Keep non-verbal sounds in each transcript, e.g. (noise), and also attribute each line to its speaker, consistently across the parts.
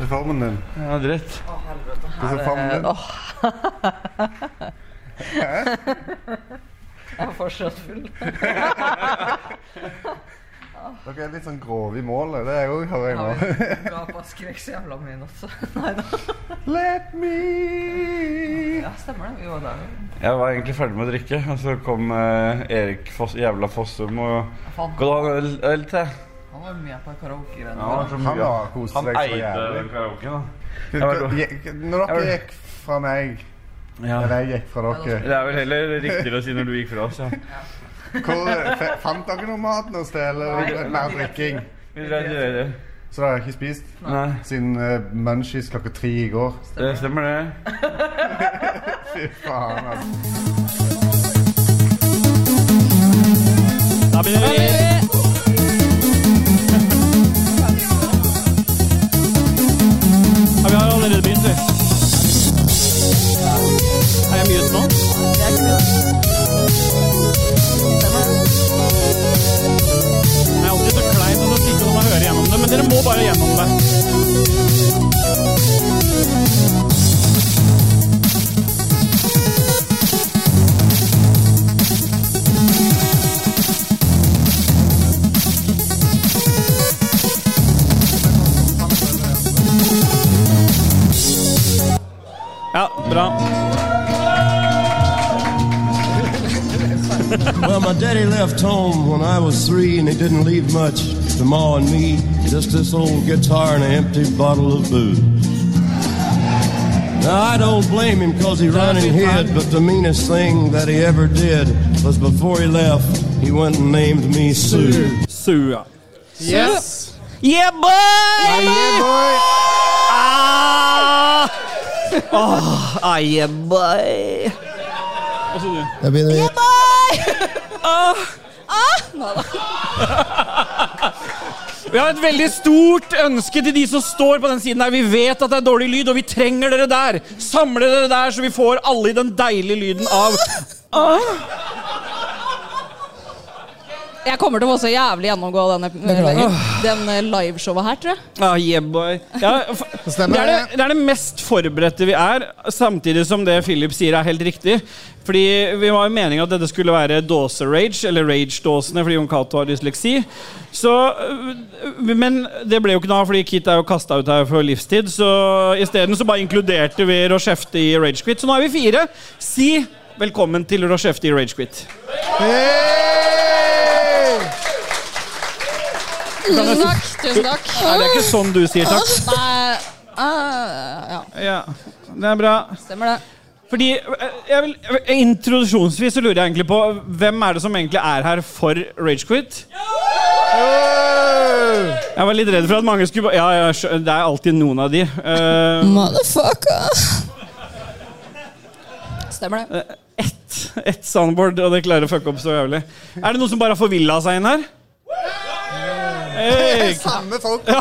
Speaker 1: Reformen din.
Speaker 2: Ja, dritt.
Speaker 1: Disse farmen din.
Speaker 3: Åh. Jeg er fortsatt full.
Speaker 1: Dere er litt sånn grove i målet. Det er jeg òg, hører jeg nå.
Speaker 3: Gapa skrek så jævla mye i natt, så. Nei da.
Speaker 1: (laughs) Let me
Speaker 3: Ja, stemmer det. Vi var der.
Speaker 2: Jeg var egentlig ferdig med å drikke, og så kom eh, Erik Foss, jævla Fossum og
Speaker 3: Faen,
Speaker 2: Gå da, en øl, øl til.
Speaker 3: han var med på karaoke-greiene.
Speaker 2: Ja, så
Speaker 1: Han
Speaker 2: mye.
Speaker 1: var koste
Speaker 2: Han
Speaker 1: seg så
Speaker 2: eide
Speaker 1: jævlig.
Speaker 2: den karaoken, Jeg var-
Speaker 1: Dere- Når dere
Speaker 2: jeg var-
Speaker 1: gikk fra meg,
Speaker 2: da. Ja.
Speaker 1: eller jeg gikk fra dere
Speaker 2: Det er vel heller riktigere å si når du gikk fra oss, ja.
Speaker 1: hvor, f- Fant dere noe mat noe sted, eller
Speaker 3: Nei.
Speaker 1: mer drikking?
Speaker 2: Vi drev i det.
Speaker 1: Så dere har ikke spist
Speaker 2: Nei,
Speaker 1: siden eh, munchies klokka tre i går? (laughs)
Speaker 2: det stemmer det.
Speaker 1: Fy faen, altså.
Speaker 4: Da begynner vi. Ja, vi har allerede begynt, vi. Er jeg mute nå? Det er alltid så kleint at det ikke noen hører gjennom det, men dere må bare gjennom det. Ja, bra.
Speaker 5: Well, my daddy left home when I was three, and he didn't leave much to Ma and me. Just this old guitar and an empty bottle of booze. Now, I don't blame him 'cause he ran and hid, but the meanest thing that he ever did was before he left, he went and named me Sue.
Speaker 4: Sua.
Speaker 1: Yes!
Speaker 4: Yeah, boy!
Speaker 1: Yeah, boy!
Speaker 4: Ah! Åh, Ah, yeah, boy!
Speaker 6: Da begynner vi.
Speaker 4: Vi har et veldig stort ønske til de som står på den siden her. Vi vet at det er dårlig lyd, og vi trenger dere der. Samle dere der, så vi får alle i den deilige lyden av
Speaker 7: Jeg kommer til å få så jævlig gjennomgå denne,
Speaker 6: Beklager.
Speaker 7: den eh, liveshowet her, tror jeg.
Speaker 4: Ah, yeah, boy. Ja, f-
Speaker 6: stemmer
Speaker 4: det, er det, det er det mest forberedte vi er, samtidig som det Philip sier er helt riktig. Fordi Vi var jo meninga at dette skulle være dåse-rage, eller rage-dåsene, fordi Jon Cato har dysleksi. Så, øh, Men det ble jo ikke noe av, fordi Kit er jo kasta ut her for livstid. Så isteden så bare inkluderte vi Rochefte i Ragequit. Så nå er vi fire. Si velkommen til Rochefte i Ragequit.
Speaker 7: Tusen takk. tusen takk.
Speaker 4: Nei, det er ikke sånn du sier takk.
Speaker 7: Nei, eh, ja,
Speaker 4: Ja, Det er bra.
Speaker 7: stemmer det.
Speaker 4: Fordi, eh, jeg vil, eh, Introduksjonsvis så lurer jeg egentlig på hvem er det som egentlig er her for Ragequit? Jeg var litt redd for at mange skulle ba- Ja, ja, skjø- det er alltid noen av de. Eh,
Speaker 7: Motherfucker. Stemmer det.
Speaker 4: Ett et soundboard, og det klarer å fucke opp så jævlig. Er det noen som bare har forvilla seg inn her? Hey,
Speaker 1: Samme folk.
Speaker 4: da,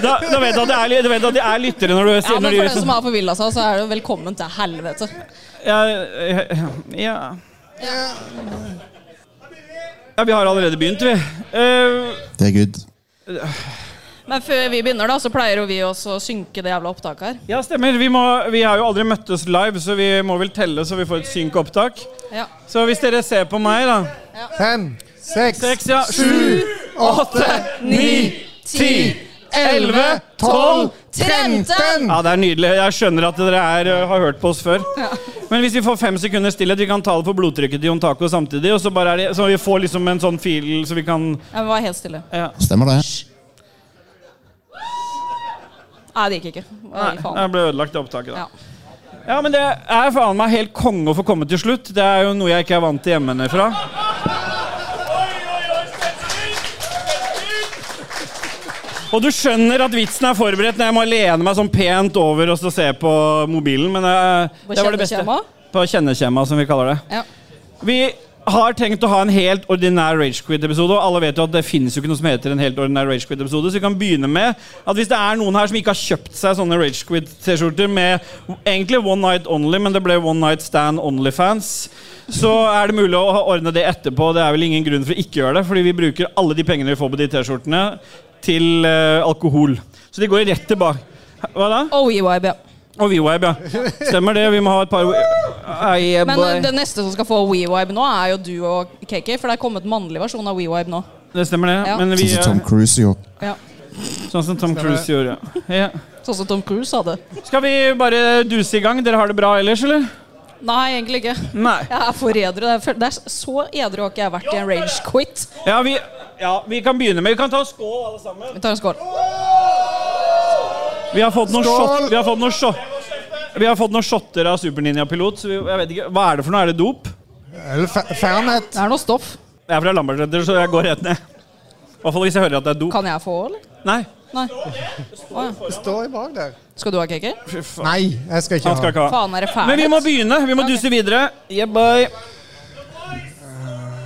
Speaker 4: da vet du at det er, li- du vet at de er lyttere når du
Speaker 7: Ja,
Speaker 4: sier når
Speaker 7: men For
Speaker 4: de- liksom-
Speaker 7: dere som har forvilla seg, så er det jo velkommen til helvete.
Speaker 4: Ja, ja, ja. ja Vi har allerede begynt, vi. Eh,
Speaker 6: Det er good.
Speaker 7: Men før vi begynner, da, så pleier jo vi også å synke det jævla opptaket her.
Speaker 4: Ja, stemmer. Vi, må, vi har jo aldri møttes live, så vi må vel telle så vi får et synk-opptak.
Speaker 7: Ja.
Speaker 4: Så hvis dere ser på meg, da
Speaker 1: Fem, seks,
Speaker 4: Seks, ja. Sju, åtte, ni
Speaker 7: Ti,
Speaker 4: elleve,
Speaker 1: tolv,
Speaker 7: trenten!
Speaker 4: Ja, det er nydelig. Jeg skjønner at dere er, ø, har hørt på oss før. Men hvis vi får fem sekunder stillhet, vi kan ta det på blodtrykket til Jon Taco samtidig, og så, bare er det, så vi får liksom en sånn fil så vi kan
Speaker 7: Jeg var helt stille.
Speaker 4: ja.
Speaker 6: Stemmer det?
Speaker 7: Nei, det gikk ikke. Nei,
Speaker 4: Nei,
Speaker 7: faen.
Speaker 4: det ble ødelagt i opptaket, da.
Speaker 7: Ja.
Speaker 4: Ja, men det er faen meg helt konge å få komme til slutt. Det er jo noe jeg ikke er vant til hjemmefra. Og du skjønner at vitsen er forberedt når jeg må lene meg sånn pent over og så se på mobilen, men det,
Speaker 7: På
Speaker 4: det var det beste.
Speaker 7: kjennekjema?
Speaker 4: På kjennekjema, som vi kaller det.
Speaker 7: Ja.
Speaker 4: Vi har tenkt å ha en helt ordinær Ragequid-episode, og alle vet jo at det finnes jo ikke noe som heter en helt ordinær Ragequid-episode, så vi kan begynne med at hvis det er noen her som ikke har kjøpt seg sånne Ragequid-T-skjorter med egentlig One Night Only, men det ble One Night Stand Onlyfans, så er det mulig å ha- ordne det etterpå. Det er vel ingen grunn for å ikke gjøre det, fordi vi bruker alle de pengene vi får på de T-skjortene, til eh, alkohol. Så de går rett tilbake. Hva da?
Speaker 7: Og WeWibe, ja.
Speaker 4: Og WeWeb, ja. Stemmer det. Vi må ha et par Ai, eh,
Speaker 7: Men
Speaker 4: boy.
Speaker 7: eh, det neste som skal få WeWibe nå, er jo du og KK, for det er kommet en mannlig versjon av WeWibe nå.
Speaker 4: Det stemmer, det.
Speaker 7: Ja.
Speaker 4: Men vi,
Speaker 5: Sånn som Tom Cruise gjorde.
Speaker 7: Ja.
Speaker 4: sånn som Tom Cruise gjorde. Ja.
Speaker 7: Sånn som Tom Cruise hadde.
Speaker 4: Skal vi bare duse i gang? Dere har det bra ellers, eller?
Speaker 7: Nei, egentlig ikke.
Speaker 4: Nei.
Speaker 7: (laughs) Jeg er for edru. Jeg føler- Det er så edru har ikke jeg vært i en rage quit.
Speaker 4: Ja, vi, ja, vi kan begynne med Vi kan ta en skål, alle sammen.
Speaker 7: Vi tar en skål.
Speaker 4: Vi har fått noen
Speaker 8: Skål!
Speaker 4: shot, vi har fått noen shot, vi har fått noen shotter av Superninja-pilot. Så vi, jeg vet ikke, Hva er det for noe? Er det dop?
Speaker 8: Eller fe- Fernet.
Speaker 7: Det er noe stoff.
Speaker 4: Jeg er fra Lambertseter, så jeg går rett ned. I hvert fall hvis jeg hører at det er dop.
Speaker 7: Kan jeg få, eller?
Speaker 4: Nei.
Speaker 7: Nei.
Speaker 8: Det står i bak der.
Speaker 7: Skal du ha KK?
Speaker 8: Nei, jeg skal ikke
Speaker 4: Han skal
Speaker 8: ha.
Speaker 4: ikke ha.
Speaker 7: Faen, er det ferdig?
Speaker 4: Men vi må begynne. Vi må duse videre. Yeah, boy.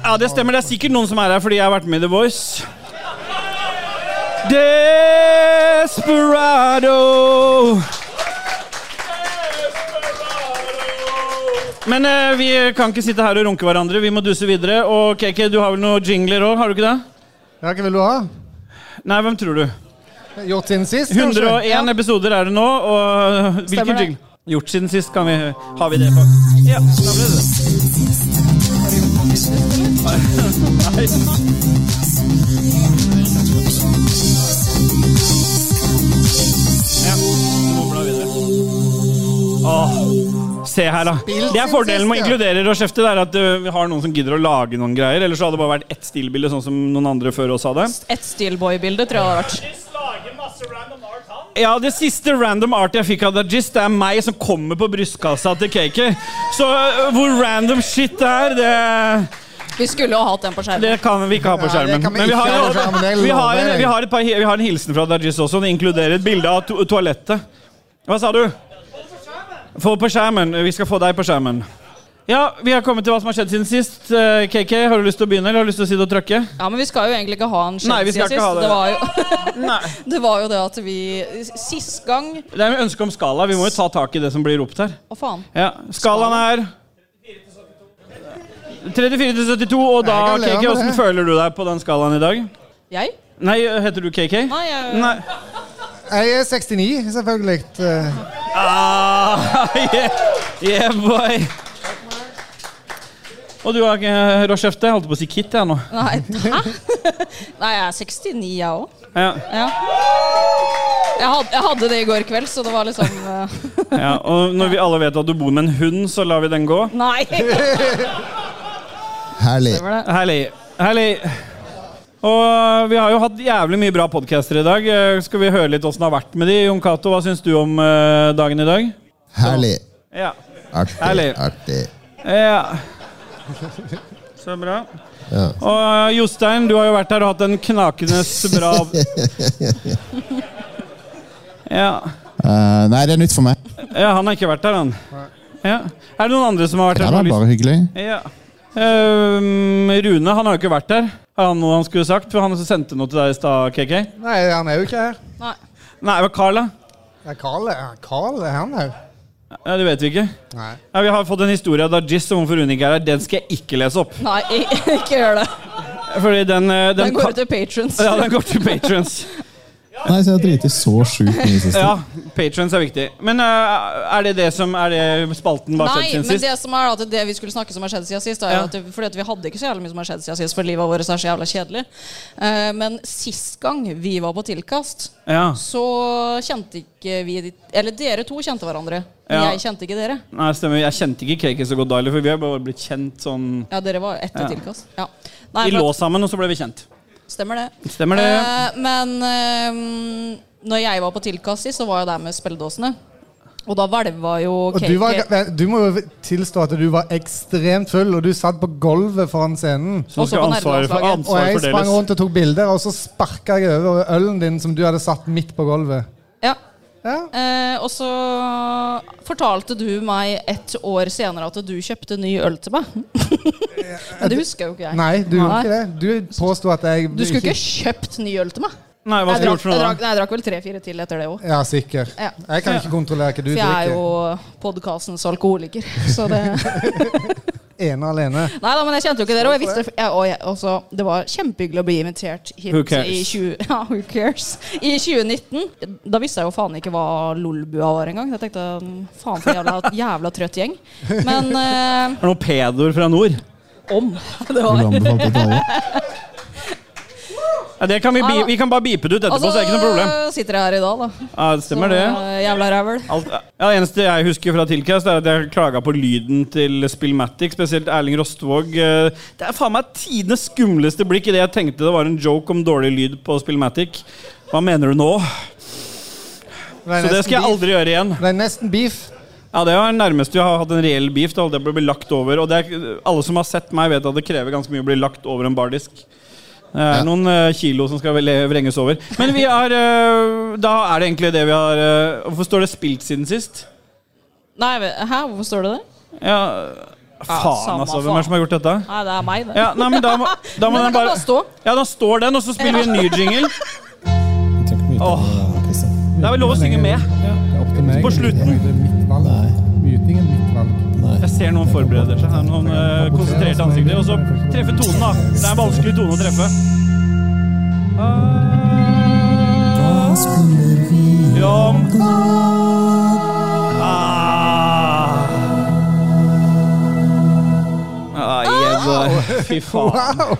Speaker 4: Ja, det stemmer. Det er sikkert noen som er her fordi jeg har vært med i The Voice. Desperado. Men eh, vi kan ikke sitte her og runke hverandre. Vi må duse videre. Og KK, du har vel noen jingler òg? Har du ikke det?
Speaker 8: Ja, Hva vil du ha?
Speaker 4: Nei, hvem tror du?
Speaker 8: Gjort siden sist? kanskje?
Speaker 4: 101 episoder er det nå, og hvilken
Speaker 7: Stemmer det.
Speaker 4: jingle? Gjort siden sist kan vi Har vi det på? Ja, da ble det det. Ja, du må bla videre. Åh, Se her, da. Det er fordelen med å inkludere Rochefte. Det er at uh, vi har noen som gidder å lage noen greier. Ellers så hadde det bare vært ett stillbilde, sånn som noen andre før oss hadde.
Speaker 7: Et Steelboy-bilde tror jeg det hadde vært.
Speaker 4: Ja, det siste random art jeg fikk av Dajis, det er meg som kommer på brystkassa til KK. Så øh, hvor random shit det er, det,
Speaker 7: Vi skulle jo ha hatt den på skjermen.
Speaker 4: det kan vi ikke ha på
Speaker 8: Nei, det
Speaker 4: skjermen.
Speaker 8: kan vi
Speaker 4: vi
Speaker 8: ikke
Speaker 4: har,
Speaker 8: ha på skjermen, det
Speaker 4: vi har, en,
Speaker 8: lover jeg.
Speaker 4: vi har, et par, vi har en hilsen fra Dajis også. Det inkluderer et bilde av to toalettet. Hva sa du? Få på skjermen. Vi skal få deg på skjermen. Ja, vi har kommet til hva som har skjedd siden sist. Eh, KK, har du lyst til å begynne, eller har du lyst til å sitte og trykke?
Speaker 7: Ja, men vi skal jo egentlig ikke ha en
Speaker 4: Nei, vi skal
Speaker 7: skjerm
Speaker 4: ikke ha det.
Speaker 7: var (laughs) jo,
Speaker 4: Nei.
Speaker 7: det var jo det at vi Sist gang Å,
Speaker 4: Det er med ønske om skala. Vi må jo ta tak i det som blir ropt her.
Speaker 7: faen.
Speaker 4: Ja, Skalaen er 34 til 72, og da,
Speaker 8: Jeg kan leve
Speaker 4: KK,
Speaker 8: med
Speaker 4: hvordan
Speaker 8: det.
Speaker 4: føler du deg på den skalaen i dag?
Speaker 7: Jeg?
Speaker 4: Nei, heter du KK?
Speaker 7: Nei, jeg,
Speaker 4: Nei.
Speaker 8: Jeg er 69, selvfølgelig. Eh,
Speaker 4: Ah, (laughs) yeah, yeah, boy. Og du har ikke råskjefte? Jeg holdt på å si Kit, jeg nå.
Speaker 7: Nei, hæ? (laughs) Nei, jeg er 69, jeg òg.
Speaker 4: Ja.
Speaker 7: Ja. Jeg, had, jeg hadde det i går kveld, så det var liksom eh,
Speaker 4: ja, Og når vi alle vet at du bor med en hund, så lar vi den gå.
Speaker 7: (laughs) Nei!
Speaker 5: Herlig.
Speaker 4: Herlig. Herlig. Og eh, vi har jo hatt jævlig mye bra podcaster i dag. Eh, Skal vi høre litt åssen det har vært med de? Jon Cato, hva syns du om eh, dagen i dag?
Speaker 5: Herlig.
Speaker 4: Ja.
Speaker 5: Artig.
Speaker 4: Herlig.
Speaker 5: Artig.
Speaker 4: Ja. Så bra.
Speaker 5: Ja.
Speaker 4: Og eh, Jostein, du har jo vært her og hatt en knakende bra ja.
Speaker 5: Eh, nei, det er nytt for meg.
Speaker 4: ja, han har ikke vært her, han. Ja. Er det noen andre som har vært
Speaker 5: Ja,
Speaker 4: her?
Speaker 5: da,
Speaker 4: som har lyst-
Speaker 5: bare hyggelig.
Speaker 4: Ja. Ehm, Rune han har jo ikke vært her. Har han noe han skulle sagt? For han sendte noe til deg i stad, KK.
Speaker 8: Nei, han er jo ikke her.
Speaker 7: Nei.
Speaker 4: Nei, det var Carl, da.
Speaker 8: Det er Carl, det. Carl er han her.
Speaker 4: Ja, det vet vi ikke.
Speaker 8: Nei.
Speaker 4: Ja, vi har fått en historie av Dajis om hvorfor hun ikke er her. Den skal jeg ikke lese opp.
Speaker 7: Nei, i- ikke gjør det.
Speaker 4: Fordi den, eh, den,
Speaker 7: Den går
Speaker 4: kan-
Speaker 7: ut til patrons.
Speaker 4: Ja, den går til patrons.
Speaker 5: Nei, så jeg har driti så sjukt mye sist.
Speaker 4: Ja, patrons er viktig. Men eh, er det det som er det spalten bare
Speaker 7: Nei,
Speaker 4: skjedd siden
Speaker 7: men
Speaker 4: sist?
Speaker 7: det som er at det vi skulle snakke som har skjedd siden sist, er jo
Speaker 4: Ja.
Speaker 7: at det, fordi at vi hadde ikke så jævlig mye som har skjedd siden sist, for livet vårt er så jævla kjedelig. Eh, men sist gang vi var på tilkast,
Speaker 4: Ja.
Speaker 7: så kjente ikke vi de- Eller dere to kjente hverandre. Men
Speaker 4: Ja.
Speaker 7: Jeg kjente ikke dere.
Speaker 4: Nei, stemmer. Jeg kjente ikke Cake så godt da heller, for vi har bare blitt kjent sånn
Speaker 7: Ja, dere var etter
Speaker 4: Ja.
Speaker 7: tilkast. Ja. Nei,
Speaker 4: Vi
Speaker 7: for at-
Speaker 4: lå sammen, og så ble vi kjent.
Speaker 7: Stemmer det.
Speaker 4: Stemmer det.
Speaker 7: Eh, men eh, når jeg var på tilkast sist, så var jeg der med spilledåsene. Og da hvelva jo
Speaker 8: Og
Speaker 7: KK
Speaker 8: du, var, vent, du må jo tilstå at du var ekstremt full, og du satt på gulvet foran scenen.
Speaker 4: Så nå
Speaker 7: Også
Speaker 4: skal
Speaker 7: på
Speaker 4: ansvaret for
Speaker 7: nerdelandslaget.
Speaker 8: Og
Speaker 4: ansvaret
Speaker 8: jeg sprang
Speaker 4: fordeles.
Speaker 8: rundt og tok bilder, og så sparka jeg over ølen din som du hadde satt midt på gulvet.
Speaker 7: Ja.
Speaker 8: Ja.
Speaker 7: Eh, og så fortalte du meg et år senere at du kjøpte ny øl til meg. (laughs) Men det husker jo ikke jeg.
Speaker 8: Nei, du gjorde ikke det. Du påsto at jeg
Speaker 7: Du skulle ikke kjøpt ny øl til meg.
Speaker 4: Nei, hva
Speaker 7: Jeg
Speaker 4: skulle du
Speaker 7: drakk,
Speaker 4: gjort for
Speaker 7: jeg,
Speaker 4: noe
Speaker 7: drakk,
Speaker 4: da?
Speaker 7: nei, jeg drakk vel tre-fire til etter det òg.
Speaker 8: Ja, sikker.
Speaker 7: Ja.
Speaker 8: Jeg kan ikke kontrollere hva du
Speaker 7: For jeg er (laughs)
Speaker 8: drikker.
Speaker 7: jo podkastens alkoholiker. Så det
Speaker 8: ene alene.
Speaker 7: Nei da, men jeg kjente jo ikke dere. Og jeg visste ja, og jeg, også, det var kjempehyggelig å bli invitert hit
Speaker 4: Who cares?
Speaker 7: i 20, (laughs) ja, who cares? I 2019. Da visste jeg jo faen ikke hva Lolbua var engang. Jeg tenkte mm, faen for jævla, (laughs) jævla trøtt gjeng. Men eh,
Speaker 4: Er det noen pedoer fra nord?
Speaker 7: om (laughs) det
Speaker 5: Vil
Speaker 7: var
Speaker 5: du anbefale det til alle?
Speaker 4: Ja, det kan vi, bi vi kan bare beepe det ut etterpå,
Speaker 7: Og
Speaker 4: så det er ikke noe problem.
Speaker 7: så sitter jeg her i dag, da.
Speaker 4: Ja, det stemmer det.
Speaker 7: Som, eh, jævla rævel.
Speaker 4: Alt, ja, det eneste jeg husker fra Tilcast, er at jeg klaga på lyden til Spillmatic, spesielt Erling Rostvåg. Eh, Det er faen meg tidenes skumleste blikk idet jeg tenkte det var en joke om dårlig lyd på Spillmatic. Hva mener du nå? Så det skal jeg aldri gjøre igjen.
Speaker 8: Det er nesten beef.
Speaker 4: Ja, Det var nærmest jeg har hatt en reell beef. Da holdt jeg på å bli lagt over. Og det er, alle som har sett meg, vet at det krever ganske mye å bli lagt over en bardisk. Det er
Speaker 5: Ja.
Speaker 4: noen eh, kilo som skal vel- vrenges over. Men vi er eh, Da er det egentlig det vi har eh, Hvorfor står det spilt siden sist?
Speaker 7: Nei, men- hæ? Hvorfor står det det?
Speaker 4: Ja, faen,
Speaker 7: samme
Speaker 4: altså. Hvem er det som har gjort dette?
Speaker 7: Nei, det er meg, det.
Speaker 4: Ja, nei, men da må, da må den
Speaker 7: Men den kan
Speaker 4: bare
Speaker 7: bare stå.
Speaker 4: Ja, da står den, og så spiller vi en ny jingle.
Speaker 5: Jeg trenger ikke mye
Speaker 4: Åh.
Speaker 5: til å eh, pisse.
Speaker 4: Det er vel lov å synge med. På slutten.
Speaker 5: Nei.
Speaker 8: Muting er mitt valg.
Speaker 4: Jeg ser noen forbereder seg her, noen eh, konsentrerte ansikter. Og så treffe tonen, da. Det er en vanskelig tone å treffe. Ja. Ah. Ah, jeg bare- Fy faen.
Speaker 8: Wow!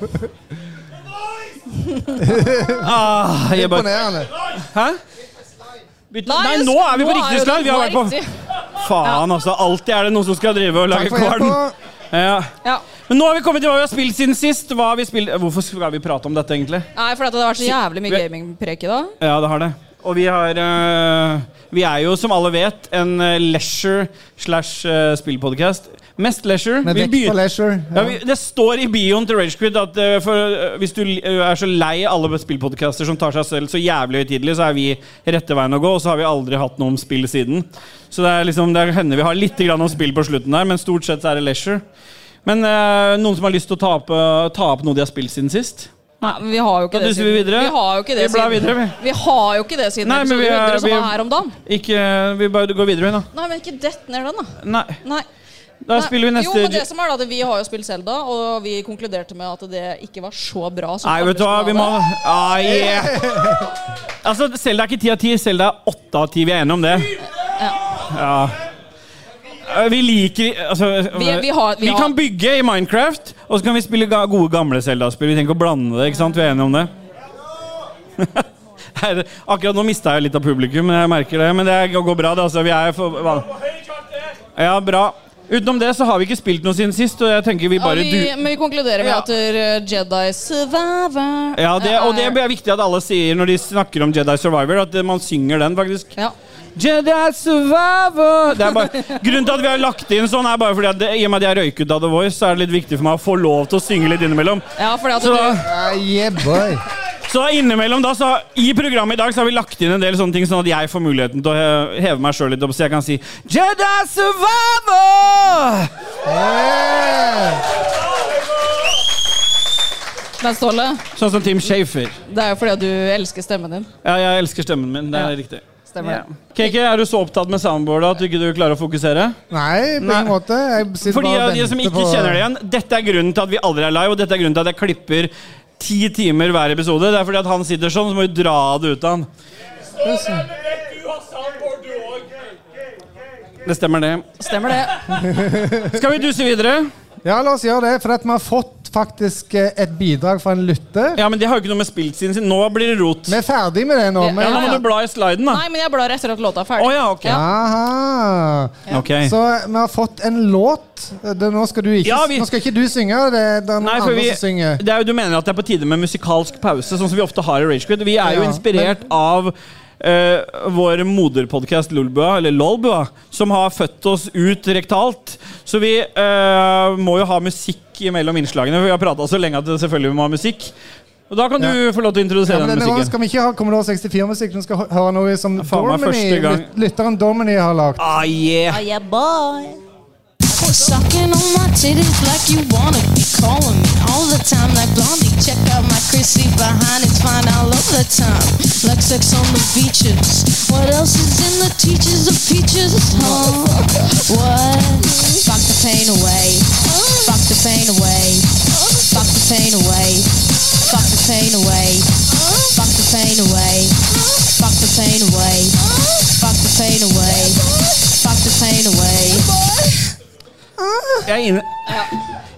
Speaker 4: Ah, jeg bare
Speaker 8: Imponerende.
Speaker 4: Hæ? Bytte- Nei,
Speaker 7: jeg
Speaker 4: nå
Speaker 7: sk-
Speaker 4: er vi på
Speaker 7: jo
Speaker 4: riktig
Speaker 7: den
Speaker 4: slag! Vi har vært på
Speaker 7: riktig.
Speaker 4: Faen, altså. Alltid er det noen som skal drive og lage
Speaker 8: Takk for
Speaker 4: kvalm.
Speaker 8: hjelpa.
Speaker 4: Ja.
Speaker 7: Ja.
Speaker 4: Men nå har vi kommet til hva vi har spilt siden sist. Hva har vi spilt? Hvorfor skal vi prate om dette, egentlig?
Speaker 7: Nei, for at det har vært så jævlig mye gamingprek i dag.
Speaker 4: Ja, det har det. Og vi har eh, Vi er jo, som alle vet, en eh, leisure slash eh, spillpodcast. Mest leisure.
Speaker 8: Med
Speaker 4: Vi
Speaker 8: vekt
Speaker 4: begyn-
Speaker 8: på leisure.
Speaker 4: ja, vi, det står i bioen til Ragequid at eh, for, eh, hvis du li- er så lei alle spillpodcaster som tar seg selv så jævlig høytidelig, så er vi rette veien å gå, og så har vi aldri hatt noe om spill siden. Så det er liksom, det hender vi har litt grann om spill på slutten der, men stort sett så er det leisure. Men eh, noen som har lyst til å ta opp, eh, ta opp noe de har spilt siden sist?
Speaker 7: Nei, men vi har jo
Speaker 4: Da
Speaker 7: ikke det
Speaker 4: duser vi videre.
Speaker 7: Vi har jo ikke det
Speaker 4: Vi blar
Speaker 7: siden.
Speaker 4: videre, vi.
Speaker 7: har jo ikke det siden
Speaker 4: Nei, men
Speaker 7: episode
Speaker 4: vi er-
Speaker 7: 100 som
Speaker 4: vi-
Speaker 7: var her om dagen.
Speaker 4: Ikke, eh, Vi bare går videre, da.
Speaker 7: Nei, men ikke dett ned den, da.
Speaker 4: Nei,
Speaker 7: Nei.
Speaker 4: da
Speaker 7: Nei.
Speaker 4: spiller vi neste
Speaker 7: Jo, men det som er da, det, Vi har jo spilt Zelda, og vi konkluderte med at det ikke var så bra. Som
Speaker 4: Nei, vet du hva, vi må ah, yeah. Altså, Selda er ikke ti av ti, Selda er åtte av ti. Vi er enige om det. Ja. Eh, Vi liker altså,
Speaker 7: Vi, vi, har, vi,
Speaker 4: vi
Speaker 7: har,
Speaker 4: kan bygge i Minecraft, og så kan vi spille ga gode gamle Zelda-spill. Vi trenger ikke å blande det, ikke sant? Vi er enige om det. (laughs) Her, akkurat nå mista jeg litt av publikum, men jeg merker det. Men det er- går bra, det. altså. Vi er for, hva? Ja, bra. Utenom det så har vi ikke spilt noe siden sist, og jeg tenker vi bare
Speaker 7: ja, vi,
Speaker 4: du...
Speaker 7: Men vi konkluderer med
Speaker 4: Ja.
Speaker 7: at uh, Jedi survivor
Speaker 4: Ja, det, og det
Speaker 7: er-
Speaker 4: er viktig at alle sier når de snakker om Jedi Survivor, at man synger den, faktisk.
Speaker 7: ja.
Speaker 4: Jedi Survivor det er bare, Grunnen til at vi har lagt inn sånn, er bare fordi at det, i og med at jeg røyk ut av The Voice, så er det litt viktig for meg å få lov til å synge litt innimellom.
Speaker 7: ja, fordi at
Speaker 4: Så,
Speaker 7: du
Speaker 8: Ah, yeah,
Speaker 4: (laughs)
Speaker 8: boy.
Speaker 4: så innimellom da, så i programmet i dag så har vi lagt inn en del sånne ting, sånn at jeg får muligheten til å he- heve meg sjøl litt opp, så jeg kan si Jedi Survivor!
Speaker 8: Yeah.
Speaker 7: Men Ståle,
Speaker 4: Sånn som Tim Shafer.
Speaker 7: det er jo fordi at du elsker stemmen din.
Speaker 4: Ja, jeg elsker stemmen min. Det er
Speaker 7: Ja.
Speaker 4: riktig.
Speaker 7: Stemmer det?
Speaker 4: KK, er du så opptatt med soundboardet at du ikke du klarer å fokusere?
Speaker 8: Nei, på
Speaker 4: Nei.
Speaker 8: ingen måte. Jeg sitter
Speaker 4: For de,
Speaker 8: bare og
Speaker 4: av de som
Speaker 8: venter
Speaker 4: ikke
Speaker 8: på-
Speaker 4: kjenner det igjen, dette er grunnen til at vi aldri er live, og dette er grunnen til at jeg klipper ti timer hver episode. Det er fordi at han sitter sånn, så må vi dra det ut av han. Det stemmer, det.
Speaker 7: Stemmer det.
Speaker 4: Skal vi duse videre?
Speaker 8: Ja, la oss gjøre det. For at vi har fått faktisk eh, et bidrag fra en lytter.
Speaker 4: Ja, men det har jo ikke noe med spilt sin sin. Nå blir det rot.
Speaker 8: Vi er ferdig med det nå.
Speaker 7: Ja,
Speaker 4: Ja, nå
Speaker 8: Men,
Speaker 4: må du bla i sliden, da.
Speaker 7: Nei, men jeg blar etter at låta
Speaker 4: Å
Speaker 7: er ferdig.
Speaker 4: ja, ok.
Speaker 8: aha.
Speaker 4: Ok.
Speaker 8: Så eh, vi har fått en låt. Det, nå, skal du ikke,
Speaker 4: Ja, vi-
Speaker 8: nå skal ikke du synge. Det, det er noen
Speaker 4: Nei, for
Speaker 8: andre
Speaker 4: vi,
Speaker 8: som synger.
Speaker 4: det er jo, du mener at det er på tide med musikalsk pause, sånn som vi ofte har i Ragequid. Vi er jo
Speaker 8: Ja,
Speaker 4: inspirert av eh, vår moderpodkast Lolbua, eller Lolbua, som har født oss ut rektalt. Så vi eh, må jo ha musikk mellom innslagene, for vi har prata så lenge at det selvfølgelig må ha musikk. Og da kan du få lov til å
Speaker 8: Ja,
Speaker 4: introdusere
Speaker 8: men
Speaker 4: den
Speaker 8: denne gangen
Speaker 4: musikken.
Speaker 8: skal vi ikke ha Commodore 64-musikk. Vi skal hø- høre noe som
Speaker 4: faen meg første
Speaker 8: Dormany,
Speaker 4: gang.
Speaker 8: lyt- lytteren Dormany har lagd.
Speaker 4: Ah, yeah.
Speaker 7: Yeah, boy.
Speaker 9: Sucking on my titties like you wanna be calling me all the time like Blondie. Check out my Chrissy behind, it's fine all of the time. Like sex on the beaches. What else is in the teachers of peaches? Huh? What? Fuck the pain away. Fuck the pain away. Fuck the pain away. Fuck the pain away. Fuck the pain away. Fuck the pain away. Fuck the pain away. Fuck the pain away.
Speaker 4: Jeg, inn,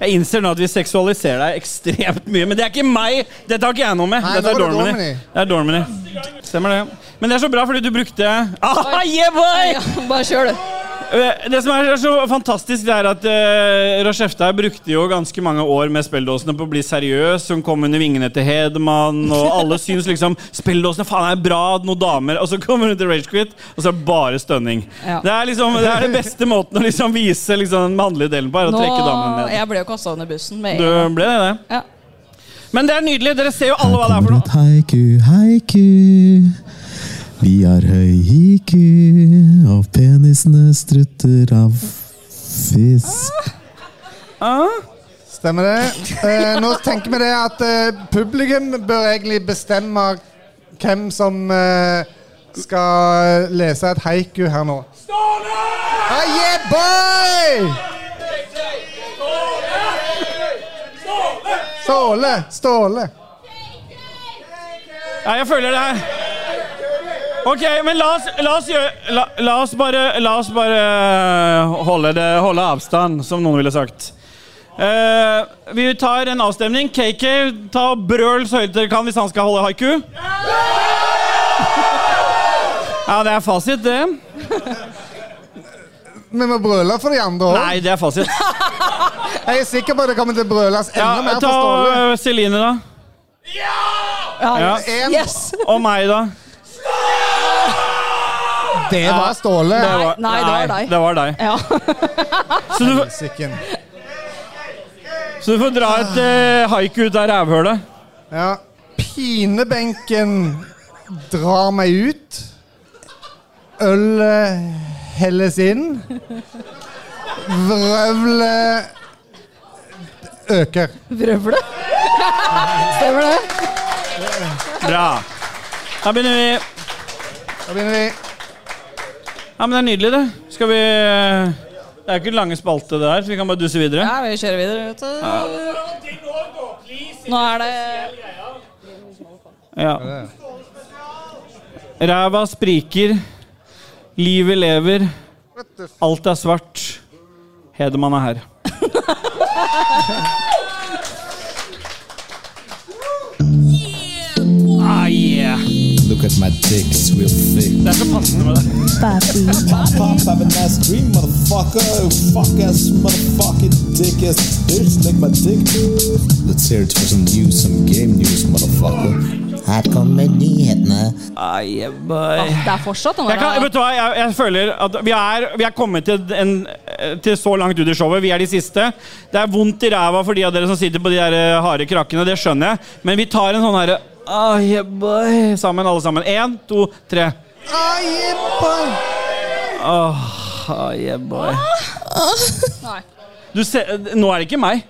Speaker 4: jeg innser nå at vi seksualiserer deg ekstremt mye, men det er ikke meg! Dette har ikke jeg noe med.
Speaker 8: Nei,
Speaker 4: Dette
Speaker 8: nå
Speaker 4: er
Speaker 8: var det
Speaker 4: Dormany. Det er Dormany. Stemmer det. Men det er så bra, fordi du brukte ah, yeah, boy!
Speaker 7: Ja, bare kjør, du.
Speaker 4: Eh, Det som er så fantastisk, det er at uh, Rashefta brukte jo ganske mange år med spelledåsene på å bli seriøs. Hun kom under vingene til Hedemann, og
Speaker 7: (laughs)
Speaker 4: alle syns liksom Spelledåsene faen er bra, noen damer Og så kommer hun til Ragequit, og så er det bare stønning.
Speaker 7: Ja.
Speaker 4: Det, er liksom, det er den beste måten å liksom vise liksom, den mannlige delen på, er å
Speaker 7: Nå,
Speaker 4: trekke damene ned.
Speaker 7: jeg ble jo kasta under bussen. Med
Speaker 4: Du
Speaker 7: en gang.
Speaker 4: ble det, det.
Speaker 7: Ja.
Speaker 4: Men det er nydelig. Dere ser jo alle hva det er
Speaker 5: Her
Speaker 4: for
Speaker 5: kommer
Speaker 4: noe.
Speaker 5: et haiku, haiku. Vi har høy IQ, og penisene strutter av fisk.
Speaker 4: (laughs)
Speaker 8: Stemmer det. Eh, nå tenker vi det at eh, publikum bør egentlig bestemme hvem som eh, skal lese et haiku her nå. Ah, yeah, boy! Ståle! Ståle.
Speaker 4: Ja, jeg føler det her. Ok, men la oss, la oss gjøre la, la oss bare, la oss bare eh, holde, det, holde avstand, som noen ville sagt. Eh, vi tar en avstemning. KK, ta og brøl så høyt dere kan hvis han skal holde haiku. Ja, det er fasit, det.
Speaker 8: Vi må brøle for de andre òg.
Speaker 4: Nei, det er fasit.
Speaker 8: Jeg er sikker på at det kommer til å brøles
Speaker 4: Ja,
Speaker 8: enda mer
Speaker 4: ta
Speaker 8: for Ståle.
Speaker 4: eh, Celine, da.
Speaker 7: Ja.
Speaker 4: Ja.
Speaker 8: En,
Speaker 7: Yes!
Speaker 4: Og meg, da.
Speaker 8: Det var Ståle.
Speaker 4: Det var,
Speaker 7: nei, det var deg.
Speaker 4: Det var deg.
Speaker 7: Ja.
Speaker 4: (laughs) Så, du,
Speaker 8: Sikken.
Speaker 4: så du får dra et eh, haiku ut av rævhølet.
Speaker 8: Ja. Pinebenken drar meg ut. Ølet helles inn. Vrøvlet øker.
Speaker 7: Vrøvle. Stemmer det?
Speaker 4: Bra. Da begynner vi.
Speaker 8: Da begynner vi.
Speaker 4: Ja, men Det er nydelig, det. Skal vi eh, Det er ikke en lange spalte, det der, så vi kan bare duse videre.
Speaker 7: Ja, vi kjører videre, vet du. Nå er det
Speaker 4: Ja. Ræva spriker, livet lever, alt er svart. Hedemann er her. Ah, yeah.
Speaker 5: Look at my dick, it's real thick.
Speaker 4: Det er så passende med det.
Speaker 5: Pop, pop, have a nice dream, motherfucker. Fuck ass, motherfucking dick ass bitch, lick my dick. Let's hear it for some news, some game news, motherfucker. Her kommer nyhetene.
Speaker 4: Ah, yeah, boy.
Speaker 7: Det er fortsatt den
Speaker 4: Jeg, kan,
Speaker 7: der.
Speaker 4: vet du hva, jeg, jeg føler at vi er, vi er kommet til, en, eh, til så langt ut i showet. Vi er de siste. Det er vondt i ræva for de av dere som sitter på de der eh, harde krakkene. Det skjønner jeg. Men vi tar en sånn herre ah, yeah, boy, sammen, alle sammen. Én, to, tre.
Speaker 8: Ah, jippa!
Speaker 4: Ah, yeah, boy.
Speaker 7: Nei.
Speaker 4: Du ser, nå er det ikke meg.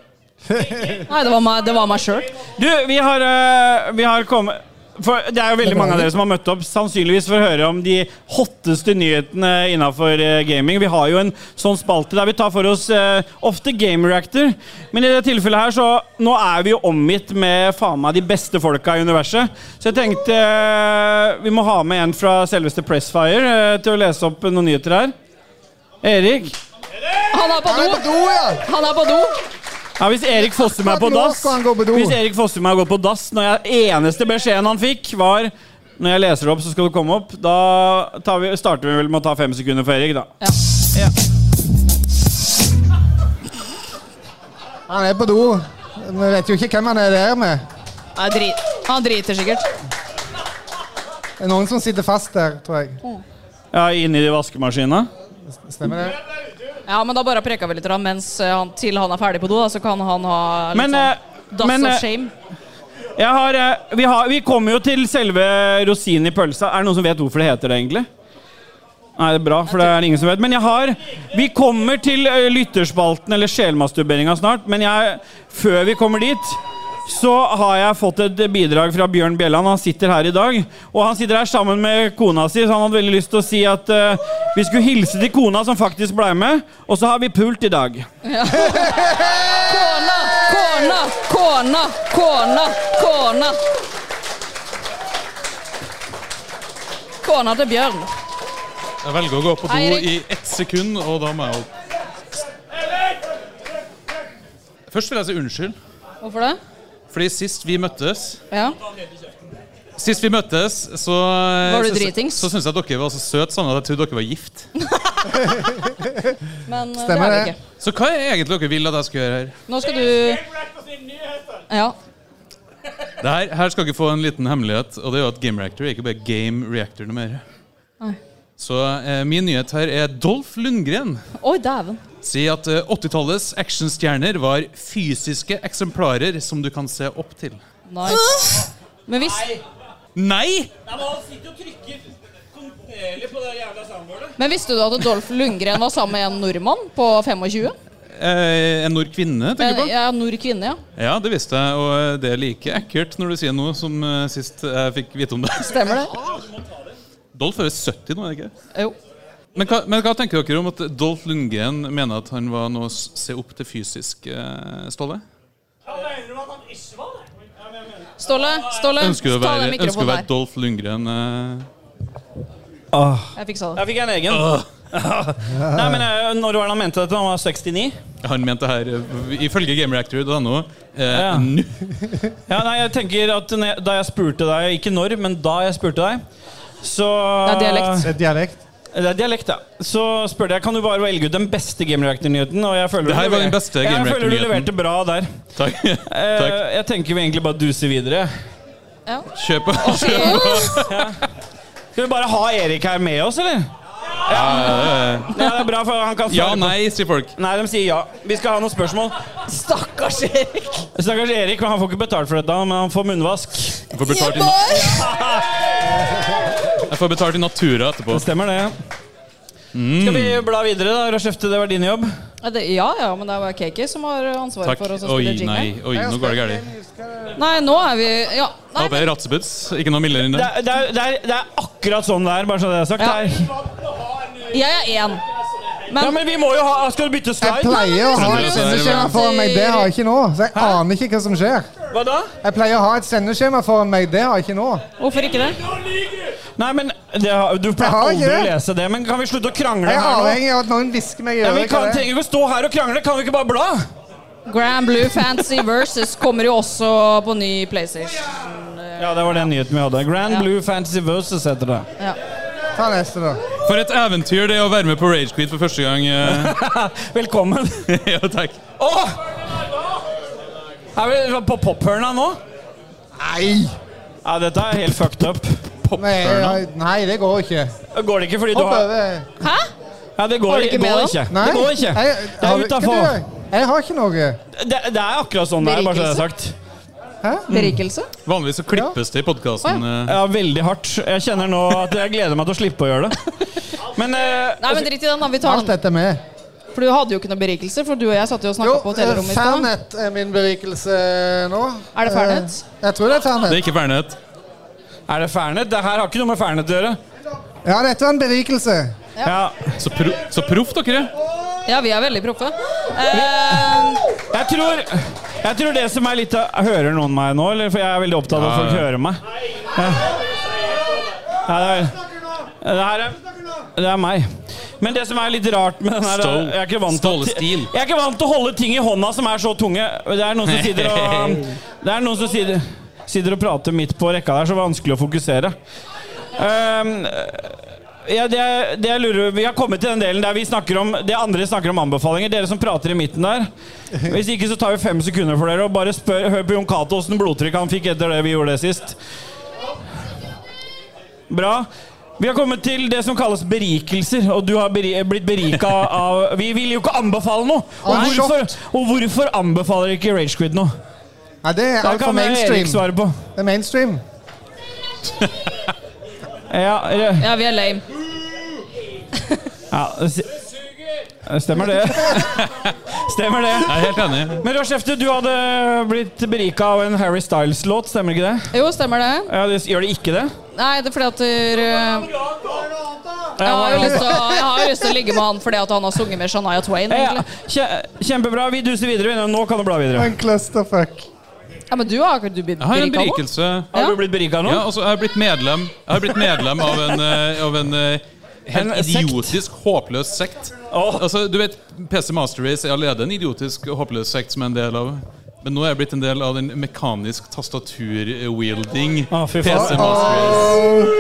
Speaker 7: Nei, det var meg, det var meg sjøl.
Speaker 4: Du, vi har, eh, vi har kommet for Det er jo veldig mange av dere som har møtt opp sannsynligvis for å høre om de hotteste nyhetene innafor eh, gaming. Vi har jo en sånn spalte der vi tar for oss eh, ofte Game Reactor. Men i det tilfellet her så Nå er vi jo omgitt med faen meg de beste folka i universet. Så jeg tenkte eh, vi må ha med en fra selveste Pressfire eh, til å lese opp noen nyheter her. Erik?
Speaker 7: Han er på
Speaker 8: Han er på
Speaker 7: do!
Speaker 8: do, ja!
Speaker 7: Han er på do!
Speaker 4: Ja, hvis Erik Fossum er på
Speaker 8: Akkurat nå
Speaker 4: dass
Speaker 8: skal han gå på do.
Speaker 4: Hvis Erik Fossum er går på dass Når jeg, eneste beskjeden han fikk var Når jeg leser det opp så skal du komme opp Da tar vi, starter vi vel med å ta fem sekunder for Erik da
Speaker 8: Han er på do. Vi vet jo ikke hvem han er der med.
Speaker 7: Nei, drit. Han driter sikkert.
Speaker 8: Det er noen som sitter fast der, tror jeg.
Speaker 4: Ja, inn i vaskemaskina
Speaker 8: Stemmer det?
Speaker 7: Ja, men da bare preka vi litt rann, mens eh, han, til han er ferdig på do, da, så kan han ha litt
Speaker 4: Men, eh,
Speaker 7: sånn dass
Speaker 4: men, eh,
Speaker 7: og shame.
Speaker 4: jeg har, eh, vi, har, vi kommer jo til selve rosinen i pølsa Er det noen som vet hvorfor det heter det egentlig? Nei, det er bra, for det er det ingen som vet. Men jeg har Vi eh, kommer til ø, lytterspalten eller sjelmasturberinga snart, men jeg Før vi kommer dit, så har jeg fått et bidrag fra Bjørn Bjelland. Han sitter her i dag. Og han sitter her sammen med kona si, så han hadde veldig lyst til å si at eh, vi skulle hilse til kona som faktisk ble med, og så har vi pult i dag.
Speaker 7: Kona, kona, kona, kona, kona. Kona til Bjørn.
Speaker 10: Jeg velger å gå på
Speaker 7: Eirik.
Speaker 10: do i ett sekund, og da må jeg opp. Først vil jeg si unnskyld,
Speaker 7: Hvorfor det?
Speaker 10: fordi sist vi møttes
Speaker 7: Ja.
Speaker 10: Sist vi møttes, så eh,
Speaker 7: Var du
Speaker 10: så-
Speaker 7: dritings?
Speaker 10: Så syns jeg at dere var så søte sammen at jeg trodde dere var gift.
Speaker 7: Men eh, det
Speaker 8: Stemmer
Speaker 7: er
Speaker 8: det.
Speaker 7: det ikke.
Speaker 10: Så hva er egentlig dere vil at jeg skal gjøre her?
Speaker 7: Nå skal du Ja.
Speaker 10: Det her, her skal dere få en liten hemmelighet, og det er jo at Game Reactor er ikke bare Game Reactor noe mer.
Speaker 7: Nei.
Speaker 10: Så eh, min nyhet her er Dolph Lundgren
Speaker 7: Oi, dæven.
Speaker 10: sier at eh, 80-tallets actionstjerner var fysiske eksemplarer som du kan se opp til.
Speaker 7: Nice. Men hvis,
Speaker 10: Nei!
Speaker 7: men visste du at Dolph Lundgren var sammen med en nordmann på 25?
Speaker 10: Eh, en nord kvinne, tenker du på?
Speaker 7: Ja, nord kvinne, ja.
Speaker 10: Ja, det visste jeg, og eh, det er like ekkelt når du sier noe som eh, sist jeg fikk vite om det. (laughs)
Speaker 7: Stemmer det?
Speaker 10: Dolph er jo 70 nå, er det ikke?
Speaker 7: Jo.
Speaker 10: Men hva, men hva tenker dere om at Dolph Lundgren mener at han var noe å s- se opp til fysisk, eh, Ståle?
Speaker 7: Ståle, Mm, Ståle,
Speaker 10: Ønsker du å
Speaker 7: ta
Speaker 10: være,
Speaker 7: den
Speaker 10: ønsker du å
Speaker 7: mikrofonen
Speaker 10: være
Speaker 7: der.
Speaker 10: Dolph Lundgren? eh?
Speaker 7: Jeg
Speaker 4: (laughs)
Speaker 7: fiksa det.
Speaker 4: Der fikk jeg en egen. Ah. (laughs) Nei, men eh, Når var det han mente dette? Han var 69?
Speaker 10: Han mente her, eh, ifølge GameReactor.no, eh, (laughs)
Speaker 4: Ja.
Speaker 10: nå.
Speaker 4: Ja, nei, jeg tenker at når jeg- Da jeg spurte deg, ikke når, men da jeg spurte deg så
Speaker 7: Det er dialekt.
Speaker 8: Det er dialekt.
Speaker 4: Det er dialekt, ja. Så spurte jeg kan du bare velge ut den beste Game Reactor-nyheten. Og jeg føler
Speaker 10: Det her
Speaker 4: du
Speaker 10: var
Speaker 4: lever-
Speaker 10: den beste Game
Speaker 4: Jeg føler du
Speaker 10: Reactor-nyheten.
Speaker 4: leverte bra der.
Speaker 10: Takk.
Speaker 4: Eh,
Speaker 10: Takk.
Speaker 4: Jeg tenker vi egentlig bare duser videre.
Speaker 10: Kjør på.
Speaker 4: Skal vi bare ha Erik her med oss, eller? Ja, ja, det er bra, for han kan svare
Speaker 10: Ja,
Speaker 4: på-
Speaker 10: nei, sier folk.
Speaker 4: Nei, de sier ja. Vi skal ha noen spørsmål.
Speaker 7: Stakkars Erik.
Speaker 4: Stakkars Erik, men han får ikke betalt for dette, men han får munnvask.
Speaker 10: Jeg får betalt i, na jeg får betalt i natura etterpå.
Speaker 4: Det stemmer, det. Skal vi bla videre, da? Rashefte, det var din jobb.
Speaker 7: Ja, det, ja, ja, men det er jo KK som har ansvaret
Speaker 10: Takk.
Speaker 7: for oss å
Speaker 10: Oi,
Speaker 7: spille jingle.
Speaker 10: nei. Oi, nå går det galt.
Speaker 7: Nei. nå er vi Ja. Nei,
Speaker 10: Håper jeg er ratseputz. Ikke noe mildere enn
Speaker 4: Det
Speaker 10: det.
Speaker 4: er, det, er, det, er, det er akkurat sånn det er, bare så det er sagt.
Speaker 7: Ja.
Speaker 4: Det er-
Speaker 7: jeg er én.
Speaker 4: Ja, men vi må jo ha Skal du bytte
Speaker 8: Jeg
Speaker 4: slide?
Speaker 8: pleier å ha et sendeskjema foran meg, det har jeg ikke nå. Så jeg aner ikke hva som skjer.
Speaker 4: Hva da?
Speaker 8: Jeg pleier å ha et sendeskjema foran meg, det har jeg ikke nå.
Speaker 7: Hvorfor ikke det?
Speaker 4: Nei, men det har, Du pleier
Speaker 8: Jeg har ikke
Speaker 4: aldri å
Speaker 8: det.
Speaker 4: lese det, men kan vi slutte å krangle
Speaker 8: Jeg er
Speaker 4: her nå?
Speaker 8: avhengig av at noen hvisker meg i
Speaker 4: Ja, vi
Speaker 8: øret.
Speaker 4: kan,
Speaker 8: hva det er.
Speaker 4: trenger ikke å stå her og krangle, kan vi ikke bare bla?
Speaker 7: Grand Blue Fantasy Versus kommer jo også på ny PlayStation.
Speaker 4: Ja, det var den nyheten vi hadde. Grand
Speaker 7: Ja.
Speaker 4: Blue Fantasy Versus heter det.
Speaker 7: Ja.
Speaker 8: Ta neste, da.
Speaker 10: For et eventyr det er å være med på Rage Quit for første gang. eh. (laughs)
Speaker 4: Velkommen. (laughs)
Speaker 10: ja, takk.
Speaker 4: Åh! Er vi liksom på pophørna nå?
Speaker 8: Nei!
Speaker 4: Ja, dette er helt fucked up.
Speaker 8: Nei, nei, nei, det går ikke.
Speaker 4: Går det ikke fordi du
Speaker 8: Hopp
Speaker 4: har
Speaker 8: over.
Speaker 7: Hæ?
Speaker 4: Ja, det
Speaker 7: Har
Speaker 4: går,
Speaker 7: du ikke
Speaker 4: går
Speaker 7: med den?
Speaker 4: ikke.
Speaker 8: Nei.
Speaker 4: Det går ikke.
Speaker 8: Jeg,
Speaker 4: Det
Speaker 8: har
Speaker 4: er
Speaker 8: vi- hva
Speaker 4: utafor.
Speaker 8: du- Jeg har ikke noe.
Speaker 4: Det, det er akkurat sånn det er, bare så det er sagt.
Speaker 7: Berikelse?
Speaker 10: Vanligvis så klippes det i eh. podkasten.
Speaker 4: Ja, veldig hardt. Jeg kjenner nå at jeg gleder meg til å slippe å gjøre det. Men eh,
Speaker 7: Nei, men drit i den, da. Vi tar
Speaker 8: Alt
Speaker 7: den.
Speaker 8: dette er med.
Speaker 7: For du hadde jo ikke noe berikelse, for du og jeg satt jo og
Speaker 8: Jo,
Speaker 7: snakka på
Speaker 8: eh,
Speaker 7: hotellrommet i stad.
Speaker 8: Fernet er min berikelse nå.
Speaker 7: Er det Fernet?
Speaker 8: Eh, Jeg tror det er
Speaker 10: Det er
Speaker 8: Fernet.
Speaker 10: ikke Fernet.
Speaker 4: er det Fernet? Det her har ikke noe med Fernet å gjøre.
Speaker 8: Ja, dette var en berikelse.
Speaker 4: Ja.
Speaker 10: Så, pro så proff dere er.
Speaker 7: Ja, vi er veldig proffe. Eh,
Speaker 4: Jeg tror, jeg tror det som er litt av Hører noen meg nå, eller? For jeg er veldig opptatt av at
Speaker 10: Ja,
Speaker 4: folk
Speaker 10: ja.
Speaker 4: hører meg. Ja. Ja, det, er, det her er Det er meg. Men det som er litt rart med den her
Speaker 10: Stål.
Speaker 4: Jeg er ikke vant til å-
Speaker 10: Stålestil.
Speaker 4: Jeg er ikke vant til å holde ting i hånda som er så tunge. Det er noen som sitter
Speaker 10: (laughs)
Speaker 4: og Det er noen som sitter, sitter og prater midt på rekka der, så vanskelig å fokusere. Ehm, ja, det, det jeg lurer, vi har kommet til den delen der vi snakker om Det andre snakker om anbefalinger. Dere som prater i midten der. Hvis ikke så tar vi fem sekunder for dere og bare spør, hør på Jon Cato åssen blodtrykk han fikk etter det vi gjorde det sist. Bra. Vi har kommet til det som kalles berikelser, og du har beri blitt berika av Vi vil jo ikke anbefale noe!
Speaker 8: Nei.
Speaker 4: Og hvorfor, og hvorfor anbefaler ikke Ragequid noe?
Speaker 8: Nei, det er
Speaker 4: Det
Speaker 8: altfor
Speaker 4: kan eh, Erik
Speaker 8: mainstream.
Speaker 4: svare på.
Speaker 8: Det er mainstream.
Speaker 4: Ja, re-
Speaker 7: ja, vi er lame.
Speaker 4: ja, si- Stemmer det. Stemmer det.
Speaker 10: Jeg er helt enig.
Speaker 4: Men Rochefte, du hadde blitt berika av en Harry Styles-låt, stemmer ikke det?
Speaker 7: Jo, stemmer det?
Speaker 4: Ja, det gjør det ikke det?
Speaker 7: Nei, det er fordi at eh, jeg har
Speaker 4: Ja,
Speaker 7: jo lyst til å- jeg har jo lyst til å ligge med han fordi at han har sunget med Shania Twain.
Speaker 4: ja.
Speaker 7: egentlig.
Speaker 4: Kje- Kjempebra. Vi duser videre. vi. Nå kan du bla videre.
Speaker 8: En clusterfuck.
Speaker 7: Ja, Men du har ikke du blitt
Speaker 10: Jeg har en
Speaker 7: berika nå?
Speaker 10: berikelse.
Speaker 4: Har du blitt berika nå?
Speaker 10: Ja, altså, jeg har blitt medlem Jeg har blitt medlem av en, eh, av en eh,
Speaker 4: En
Speaker 10: helt
Speaker 4: sekt.
Speaker 10: idiotisk, håpløs sekt.
Speaker 4: Åh.
Speaker 10: Altså, du vet, PC Master Race er allerede en idiotisk, håpløs sekt som jeg er en del av. Men nå er jeg blitt en del av den mekanisk tastatur-wielding
Speaker 4: Å, fy
Speaker 10: PC
Speaker 4: faen.
Speaker 10: Master Race.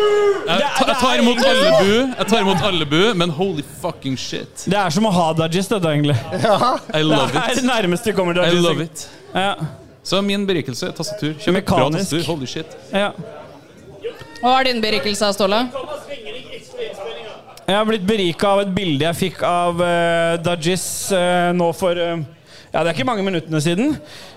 Speaker 10: Jeg, ta, jeg tar imot albu, jeg tar imot albu, men holy fucking shit.
Speaker 4: Det er som å ha Dajis, dette, egentlig.
Speaker 10: I love
Speaker 4: Det er
Speaker 10: it.
Speaker 4: det nærmeste vi kommer til
Speaker 10: I
Speaker 4: Dajis.
Speaker 10: love it.
Speaker 4: Ja.
Speaker 10: Så min berikelse er tastatur. Kjøp et bra
Speaker 4: Mekanisk.
Speaker 10: tastatur. Holy shit.
Speaker 4: Ja.
Speaker 7: Hva er din berikelse, Ståle?
Speaker 4: Jeg har blitt berika av et bilde jeg fikk av uh, Dajis eh, nå for eh, ja, Det er ikke mange minuttene siden.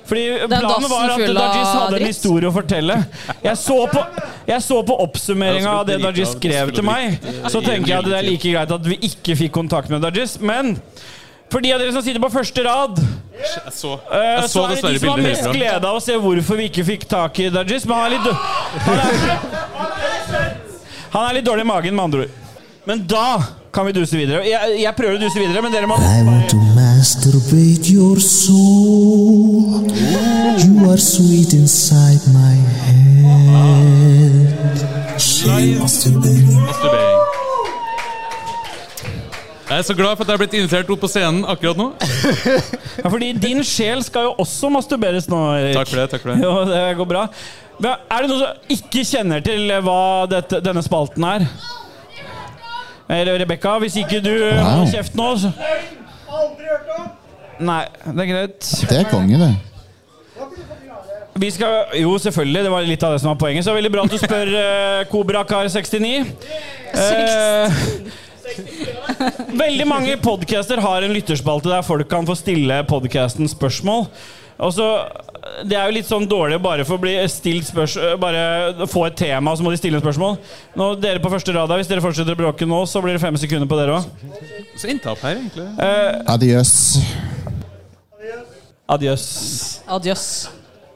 Speaker 4: Fordi planen
Speaker 7: dassen
Speaker 4: var at
Speaker 7: full av
Speaker 4: Dajis hadde en
Speaker 7: dritt.
Speaker 4: historie å fortelle. Jeg så på, jeg så på oppsummeringa av det
Speaker 10: Jeg har også blitt
Speaker 4: Dajis
Speaker 10: berika av
Speaker 4: skrev til meg.
Speaker 10: dritt, eh,
Speaker 4: Så
Speaker 10: i
Speaker 4: tenker jeg at det er
Speaker 10: nyere
Speaker 4: like greit at vi ikke fikk kontakt med Dajis. Men for de av dere som sitter på første rad,
Speaker 10: Jeg så,
Speaker 4: eh, så
Speaker 10: jeg så
Speaker 4: er det de
Speaker 10: dessverre
Speaker 4: som har
Speaker 10: bildet
Speaker 4: mest
Speaker 10: herfra.
Speaker 4: glede av å se hvorfor vi ikke fikk tak i Dajis. Men han er litt, dø- han er, han er litt dårlig i magen, med andre ord. Men da kan vi duse videre. Jeg, jeg prøver å duse videre, men dere må
Speaker 5: I want to masturbate your soul. You are sweet inside my head. She masturbating.
Speaker 10: Masturbering. Jeg er så glad for at jeg er blitt invitert opp på scenen akkurat nå.
Speaker 4: ja, Fordi din sjel skal jo også masturberes nå, Erik.
Speaker 10: Takk for det. takk for det
Speaker 4: Jo, det går bra. Men er det noen som ikke kjenner til hva dette, denne spalten er? Eh, Re- Rebekka, hvis ikke du
Speaker 11: Wow.
Speaker 4: holder kjeft nå, så Nei, det er greit.
Speaker 11: Det er konge, det.
Speaker 4: Vi skal, jo, selvfølgelig. Det var litt av det som var poenget. Så veldig bra at du spør eh, Kobra Kar69. Eh, veldig mange podcaster har en lytterspalte der folk kan få stille podcasten spørsmål. Og så, Det er jo litt sånn dårlig bare for å bli stilt spørs eh, Bare få et tema, så må de stille spørsmål. Nå, dere på første rad her, Hvis dere fortsetter å bråke nå, så blir det fem sekunder på dere òg.
Speaker 10: Så inntapp her, egentlig.
Speaker 11: Adiøs.
Speaker 4: Adjøs.
Speaker 7: Adjøs.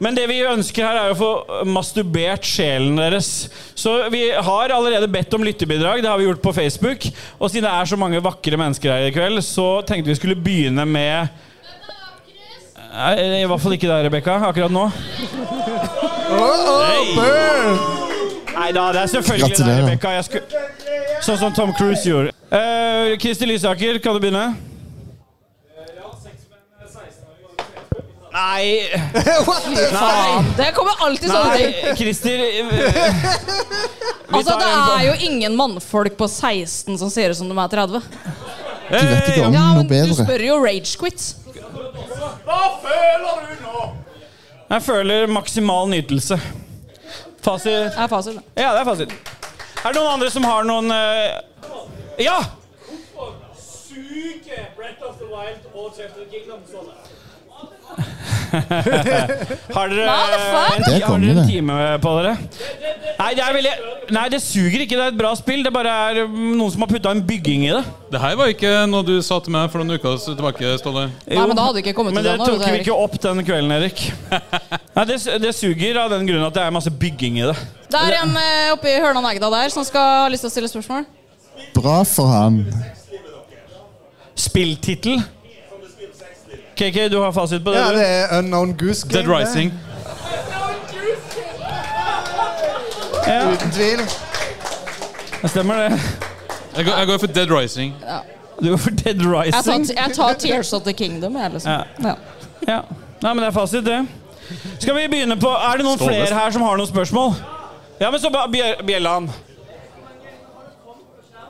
Speaker 4: Men det vi ønsker her, er å få masturbert sjelen deres. Så vi har allerede bedt om lyttebidrag. Det har vi gjort på Facebook. Og siden det er så mange vakre mennesker her i kveld, så tenkte vi skulle begynne med Nei, I hvert fall ikke deg, Rebekka, akkurat nå.
Speaker 8: Burn!
Speaker 4: Nei da, det er selvfølgelig deg,
Speaker 11: Gratulerer.
Speaker 4: Rebekka. Jeg skulle- Sånn som Tom Cruise gjorde. Eh, Kristi Lysaker, kan du begynne? Nei
Speaker 8: What the fuck?
Speaker 4: Nei,
Speaker 7: Det kommer alltid sånne ting.
Speaker 4: nei Christer
Speaker 7: (laughs)
Speaker 4: eh, vi
Speaker 7: Altså,
Speaker 4: tar
Speaker 7: Det
Speaker 4: en på-
Speaker 7: er jo ingen mannfolk på 16 som ser ut som de er
Speaker 11: Du
Speaker 7: 30.
Speaker 11: vet ikke om
Speaker 7: Ja,
Speaker 11: noe
Speaker 7: men Du
Speaker 11: bedre.
Speaker 7: spør jo Ragequit.
Speaker 4: Jeg føler maksimal nytelse. Fasit.
Speaker 7: Det er fasit. da.
Speaker 4: Ja, det er fasit. Er det noen andre som har noen eh, Ja! (laughs) Har dere
Speaker 7: Hva er det for?
Speaker 4: en,
Speaker 11: Det er
Speaker 4: har
Speaker 11: kongen,
Speaker 4: dere en
Speaker 11: det.
Speaker 4: time på dere? Nei det, er veldig, nei, det suger ikke. Det er et bra spill. Det bare er mm, noen som har putta en bygging i det.
Speaker 10: Det her var ikke noe du sa til meg for noen uker tilbake, Ståle.
Speaker 7: Nei, men da hadde vi ikke kommet
Speaker 4: Men
Speaker 7: til
Speaker 4: det
Speaker 7: det nå.
Speaker 4: tok
Speaker 7: vet du,
Speaker 4: vi
Speaker 7: Erik.
Speaker 4: ikke opp den kvelden, Erik.
Speaker 7: (laughs)
Speaker 4: Nei, det, det suger av den grunn at det er masse bygging i det.
Speaker 7: Det er en eh, oppe i Hørnan Egda der som skal ha lyst til å stille spørsmål.
Speaker 11: Bra for han.
Speaker 4: Spilltittel? KK, du har fasit på det?
Speaker 8: Ja,
Speaker 4: du?
Speaker 8: det er Unknown Goose Game.
Speaker 10: Dead Rising.
Speaker 4: Ja,
Speaker 8: det. Uten tvil.
Speaker 4: det stemmer det.
Speaker 10: Jeg går, jeg går for Dead Rising.
Speaker 4: Du går for Dead
Speaker 7: Jeg tar,
Speaker 4: Rising.
Speaker 7: jeg tar Tears of the Kingdom. Jeg, liksom. ja.
Speaker 4: Ja. Nei, men det er fasit, det. Skal vi begynne på Er det noen
Speaker 10: Ståle.
Speaker 4: flere her som har noen spørsmål? Ja, men så ba- bjer- Bjelland.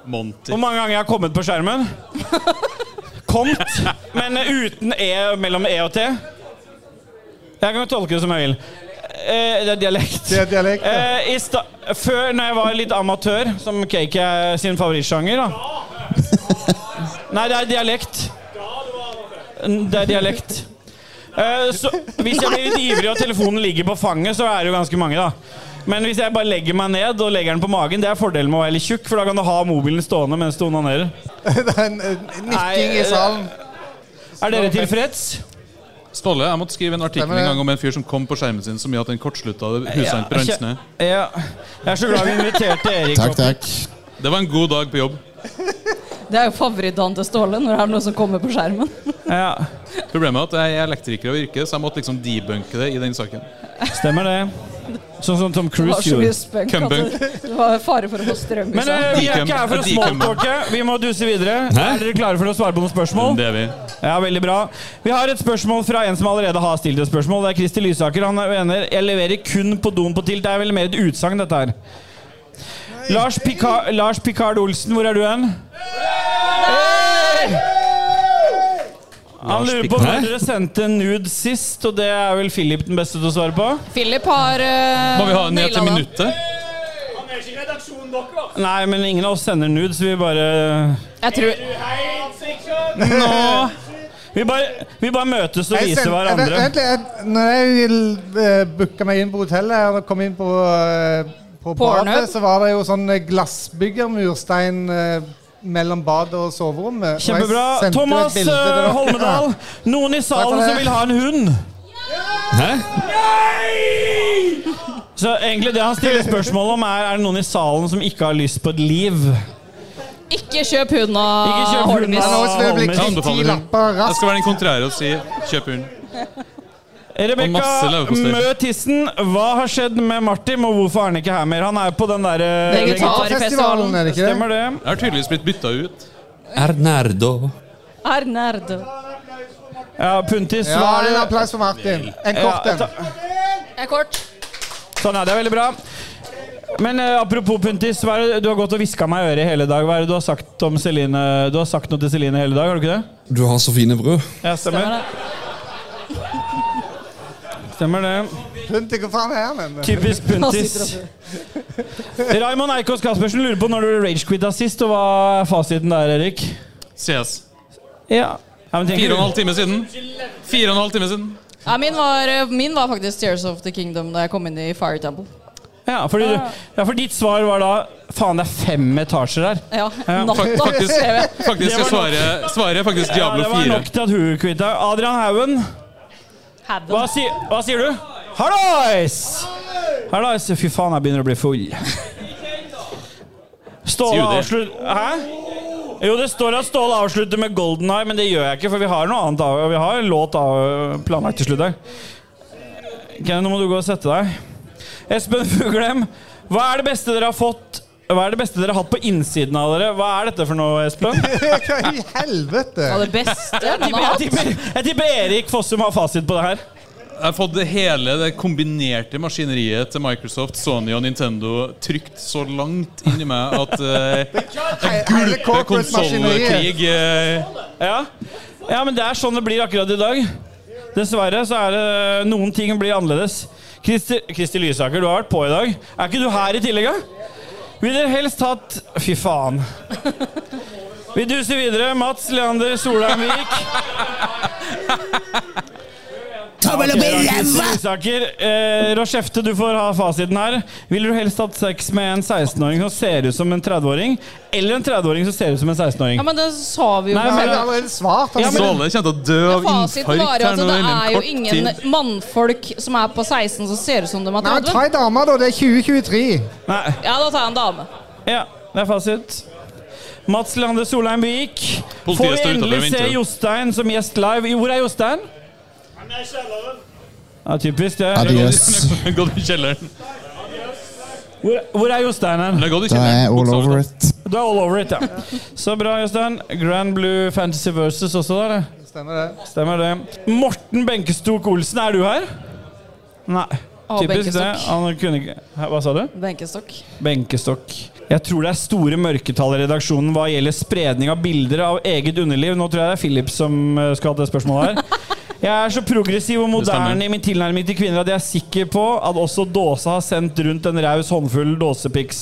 Speaker 10: Monty.
Speaker 4: Hvor mange ganger jeg har kommet på skjermen? Komt, men uten E mellom E og T. Jeg kan jo tolke det som jeg vil. Eh, det er dialekt.
Speaker 8: Det er dialekt. ja.
Speaker 4: Eh, i sta før, når jeg var litt amatør, som cake er sin favorittsjanger da. Nei, det er dialekt. N- Det er dialekt. Eh, så hvis jeg blir litt ivrig og telefonen ligger på fanget, så er det jo ganske mange, da. Men hvis jeg bare legger meg ned og legger den på magen, det er fordelen med å være litt tjukk, for da kan du ha mobilen stående mens du onanerer.
Speaker 8: Nikking i salen.
Speaker 4: Er dere tilfreds?
Speaker 10: Ståle, jeg måtte skrive en artikkel
Speaker 4: Stemmer det.
Speaker 10: en gang om en fyr som kom på skjermen sin så mye at den kortslutta huset hans brant ned.
Speaker 4: Ja. Jeg er så glad vi inviterte Erik. opp.
Speaker 11: takk.
Speaker 10: Det var en god dag på jobb.
Speaker 7: Det er jo favorittdagen til Ståle når det er noe som kommer på skjermen.
Speaker 4: Ja.
Speaker 10: Problemet er at jeg er elektriker av yrke, så jeg måtte liksom debunke det i den saken.
Speaker 4: Stemmer det. Sånn som Tom
Speaker 7: Det
Speaker 4: Cruise
Speaker 7: var så mye
Speaker 4: gjorde.
Speaker 7: spunk at
Speaker 10: Cumbunk.
Speaker 7: det (laughs) det var fare for å få strøm i
Speaker 4: Men eh,
Speaker 7: seg.
Speaker 4: vi er ikke her for å
Speaker 10: Decum-
Speaker 4: smalltalke. Vi må duse videre.
Speaker 10: Hæ? Mm,
Speaker 4: Er dere klare for å svare på noen spørsmål?
Speaker 10: Det er vi.
Speaker 4: Ja, veldig bra. Vi har et spørsmål fra en som allerede har stilt et spørsmål. Det er Kristi Lysaker. Han mener jeg leverer kun på doen på TIL. Det er vel mer et utsagn, dette her. Lars, Pika Lars Picard Olsen, hvor er du hen? Hey! Han
Speaker 10: Lars
Speaker 4: lurer på
Speaker 10: Picard.
Speaker 4: når dere sendte nude sist, og det er vel Philip den beste til å svare på?
Speaker 7: Philip har eh,
Speaker 10: Må vi ha den ned
Speaker 7: naila
Speaker 10: til
Speaker 7: den.
Speaker 10: minuttet?
Speaker 4: Nei, men ingen av oss sender nude, så vi bare
Speaker 7: Jeg tror,
Speaker 4: Nå Vi bare, vi bare møtes og
Speaker 8: Jeg
Speaker 4: viser
Speaker 8: sendte-
Speaker 4: hverandre.
Speaker 8: Vent litt. jeg- Når jeg uh, booka meg inn på hotellet og kom inn på, eh, på
Speaker 7: Pornhub?
Speaker 8: badet, så var det jo sånn eh, glassbyggermurstein eh, mellom badet og soverommet. Og jeg
Speaker 4: Kjempebra.
Speaker 8: sendte jo et
Speaker 4: Thomas
Speaker 8: bilde,
Speaker 4: eh,
Speaker 8: det var-
Speaker 4: Holmedal, noen i salen som vil ha en hund?
Speaker 10: Hæ?
Speaker 4: Så egentlig det han stiller spørsmål om, er er det noen i salen som ikke har lyst på et liv. Ah,
Speaker 7: ikke kjøp huden
Speaker 4: Ikke
Speaker 7: av
Speaker 4: kjøp huden
Speaker 7: Holmis.
Speaker 4: av-
Speaker 8: Ja, nå skal det bli
Speaker 4: Holmes.
Speaker 8: kvitt
Speaker 10: Jeg anbefaler
Speaker 8: ti
Speaker 10: den.
Speaker 8: lapper
Speaker 10: Jeg
Speaker 8: raskt.
Speaker 10: skal være den kontrære og si kjøp hund. Og
Speaker 4: Rebekka
Speaker 10: masse leverpostei.
Speaker 4: Mø Tissen, hva har skjedd med Martin, og hvorfor er han ikke her mer? Han er på den derre
Speaker 7: Vegetar.
Speaker 8: Festivalen, er det ikke det?
Speaker 4: Stemmer det?
Speaker 10: Jeg har tydeligvis blitt bytta ut.
Speaker 12: Ernardo.
Speaker 7: Er nerd.
Speaker 4: Ja, Puntis,
Speaker 8: Ja,
Speaker 4: hva
Speaker 8: en
Speaker 4: er det?
Speaker 8: applaus for Martin. En kort
Speaker 4: Ja,
Speaker 8: en.
Speaker 4: ta-
Speaker 7: Jeg er kort.
Speaker 4: Sånn er det, veldig bra. Men eh, apropos Puntis, hva er det, du har gått og hviska meg i øret hele dag. Hva er det du har sagt om Celine? Du har sagt noe til Celine hele dag, har du ikke det?
Speaker 12: Du har så fine brød.
Speaker 4: Ja, stemmer. Stemmer det.
Speaker 8: Punti, hvor faen er han? (laughs) hen?
Speaker 4: Typisk Puntis. Raymond Eikås Caspersen lurer på når du ragequitta sist, og hva er fasiten der, Erik?
Speaker 10: Ses.
Speaker 4: Ja. men tenk-
Speaker 10: Fire og en halv time siden. Fire og en halv time siden.
Speaker 7: Ja, min, var, eh, min var faktisk Tears of the Kingdom da jeg kom inn i Fire Temple.
Speaker 4: Ja, fordi du, ja, for ditt svar var da Faen, det er fem etasjer her.
Speaker 7: Ja,
Speaker 4: Ja.
Speaker 7: natta.
Speaker 10: Fak- Faktisk,
Speaker 7: (laughs) skrev jeg.
Speaker 10: faktisk
Speaker 4: Det
Speaker 10: jeg
Speaker 4: var nok.
Speaker 10: svarer, svarer jeg faktisk
Speaker 4: Ja,
Speaker 10: Diablo
Speaker 4: det var
Speaker 10: 4.
Speaker 4: nok til at hun kvitta. Adrian Haugen,
Speaker 7: Hadden.
Speaker 4: hva, si, hva sier du? Hallois! Hallois. Fy faen, jeg begynner å bli full. Ståle
Speaker 10: Sier
Speaker 4: avslutter Hæ? Jo, det står at Ståle avslutter med Golden Eye, men det gjør jeg ikke, for vi har noe annet av, vi har en låt av, planlagt til slutt her. Kenny, nå må du gå og sette deg. Espen Fuglem, hva er det beste dere har fått Hva er det beste dere har hatt på innsiden av dere? Hva er dette for noe, Espen?
Speaker 8: Hva i helvete?
Speaker 7: Ja, det beste
Speaker 4: Jeg
Speaker 7: man
Speaker 4: tipper, jeg,
Speaker 7: har hatt.
Speaker 4: tipper, jeg tipper Erik Fossum har fasit på det her.
Speaker 10: Jeg har fått det hele det kombinerte maskineriet til Microsoft, Sony og Nintendo trygt så langt inni meg at eh,
Speaker 8: He- Hele
Speaker 10: det er
Speaker 8: corporate-maskineriet.
Speaker 10: konsollkrig eh,
Speaker 4: Ja. ja, men det er sånn det blir akkurat i dag. Dessverre så er det eh, noen ting blir annerledes. Kristi, Kristi Lysaker, du har vært på i dag. Er ikke du her i tillegg, da? Vil dere helst hatt Fy faen. Vi duser videre. Mats Leander Solheim Vik.
Speaker 5: Tommel opp i
Speaker 4: Kristi
Speaker 5: ræva!
Speaker 4: Lysaker. Eh, Rochefte, du får ha fasiten her. Vil du helst hatt sex med en 16-åring som ser ut som en 30-åring, eller en 30-åring som ser ut som en 16-åring?
Speaker 7: Ja, men det sa vi jo.
Speaker 4: Nei,
Speaker 8: Han
Speaker 7: Nei,
Speaker 8: har allerede svart. altså. Han
Speaker 10: Ståle kommer til å dø av
Speaker 7: Fasiten
Speaker 10: infarkt
Speaker 7: var jo
Speaker 10: her
Speaker 7: at
Speaker 10: nå
Speaker 7: altså, det er
Speaker 10: innen
Speaker 7: jo
Speaker 10: kort
Speaker 7: ingen
Speaker 10: tid.
Speaker 7: mannfolk som er på 16 som ser ut som de er
Speaker 8: Nei, men
Speaker 7: 30.
Speaker 8: Ta ei dame, da. Det er 2023.
Speaker 4: Nei.
Speaker 7: Ja, da tar jeg en dame.
Speaker 4: Ja, det er fasit. Mats Leander Solheim Vik.
Speaker 10: Politiet
Speaker 4: Får vi
Speaker 10: står utenfor og
Speaker 4: endelig se
Speaker 10: venter.
Speaker 4: Jostein som gjest live? Jo, Hvor er Jostein? Han er i kjelleren. Ja, typisk det.
Speaker 10: (laughs)
Speaker 11: Adios.
Speaker 10: Det har gått i kjelleren.
Speaker 4: Hvor, hvor er Jostein hen?
Speaker 10: Det har gått i
Speaker 11: Da er
Speaker 10: kjelleren.
Speaker 11: jeg all
Speaker 10: bokstavelig
Speaker 11: over
Speaker 10: talt.
Speaker 11: it.
Speaker 4: Du er all over it, ja. Så bra, Jostein. Grand Blue Fantasy Versus også der, det.
Speaker 8: Stemmer det.
Speaker 4: Stemmer det. Morten Benkestok Olsen, er du her? Nei.
Speaker 7: Å,
Speaker 4: Typisk det.
Speaker 7: Benkestok.
Speaker 4: Han kunne ikke Hæ, Hva sa du?
Speaker 7: Benkestokk.
Speaker 4: Benkestokk. Jeg tror det er store mørketall i redaksjonen hva gjelder spredning av bilder av eget underliv. Nå tror jeg det er Philip som eh, skal ha det spørsmålet
Speaker 10: (laughs)
Speaker 4: her. Jeg er så progressiv og
Speaker 10: Det stemmer.
Speaker 4: moderne i min tilnærming til kvinner at jeg er sikker på at også Dåse har sendt rundt en raus håndfull dåsepics.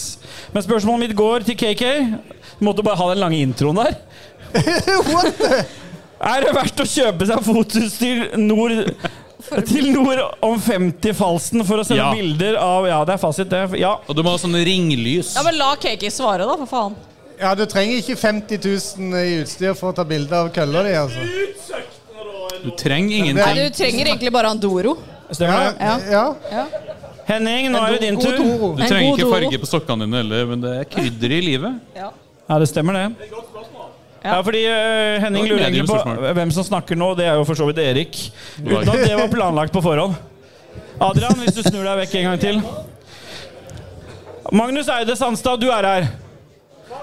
Speaker 4: Men spørsmålet mitt går til KK. Du måtte bare ha den lange introen der.
Speaker 8: (laughs) What the?
Speaker 4: Er det verdt å kjøpe seg fotoutstyr nord Til nord om 50 Falsen for å sende
Speaker 10: Ja.
Speaker 4: bilder av Ja, det er fasit, det. Ja.
Speaker 10: Og du må ha sånne ringlys.
Speaker 7: Ja, men la Kaki svare, da, for faen.
Speaker 8: Ja, du trenger ikke 50 000 i utstyr for å ta bilde av kølla di, altså.
Speaker 10: Du trenger
Speaker 8: ingenting.
Speaker 7: Nei, du trenger egentlig bare Andoro.
Speaker 10: Stemmer
Speaker 7: Ja. Ja.
Speaker 4: Henning, nå
Speaker 7: En
Speaker 4: er det
Speaker 7: do-
Speaker 4: din
Speaker 7: god
Speaker 4: tur.
Speaker 7: Toro.
Speaker 10: Du trenger ikke farge på stokkene dine heller, men det er krydder i livet.
Speaker 4: Ja, det stemmer, det. Ja, fordi eh, Henning
Speaker 10: Det var
Speaker 4: lurer
Speaker 10: et
Speaker 4: egentlig på
Speaker 10: mediumspørsmål.
Speaker 4: hvem som snakker nå. Det er jo for så vidt Erik. Uten at det var planlagt på forhånd. Adrian, hvis du snur deg vekk en gang til. Magnus Eide Sandstad, du er her.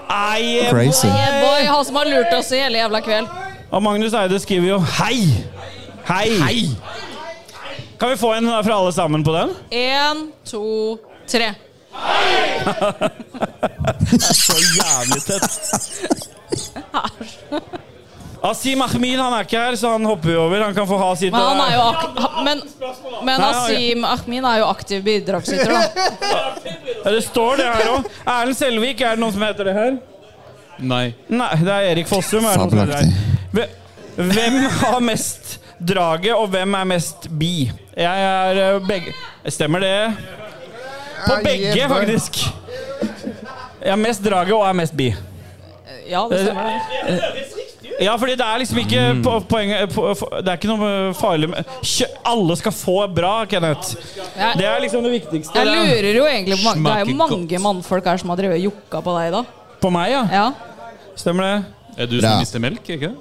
Speaker 4: Nei, eh,
Speaker 11: Crazy.
Speaker 7: Yeah, boy, han som har lurt oss i hele jævla kveld.
Speaker 4: Og Magnus Eide skriver jo hei. Hei. Kan vi få en eh, fra alle sammen på den?
Speaker 7: Én, to, tre.
Speaker 4: Så jævlig tett. Asim Ahmed han er ikke her, så han hopper vi over. Han kan få ha sitt.
Speaker 7: Men han er jo
Speaker 4: og-
Speaker 7: ak ha- men, men
Speaker 4: Nei, han-
Speaker 7: Asim Ahmin er jo aktiv bidragsyter, da.
Speaker 4: Ja, Det står det her òg. Erlend Selvik, er det noen som heter det her?
Speaker 10: Nei.
Speaker 4: Nei, det er Erik Fossum. Er det noen som heter det her? Hve- Hvem har mest draget, og hvem er mest bi? Jeg er eh, begge Stemmer det? På
Speaker 7: Ja,
Speaker 4: begge,
Speaker 7: yeah, boy.
Speaker 4: faktisk. Jeg er mest draget og er mest bi.
Speaker 7: (laughs) Ja, det stemmer. det.
Speaker 4: Ja, fordi det er liksom ikke po- poenget po- po- Det er ikke noe farlig med Kjø- Alle skal få bra, Kenneth.
Speaker 7: Jeg-
Speaker 4: Det er liksom det viktigste.
Speaker 7: Jeg lurer jo egentlig på mange, Det er jo
Speaker 4: Smaker
Speaker 7: mange mannfolk her som har drevet og jokka på deg, da.
Speaker 4: På meg, ja? Stemmer det?
Speaker 10: Er du som mister melk, ikke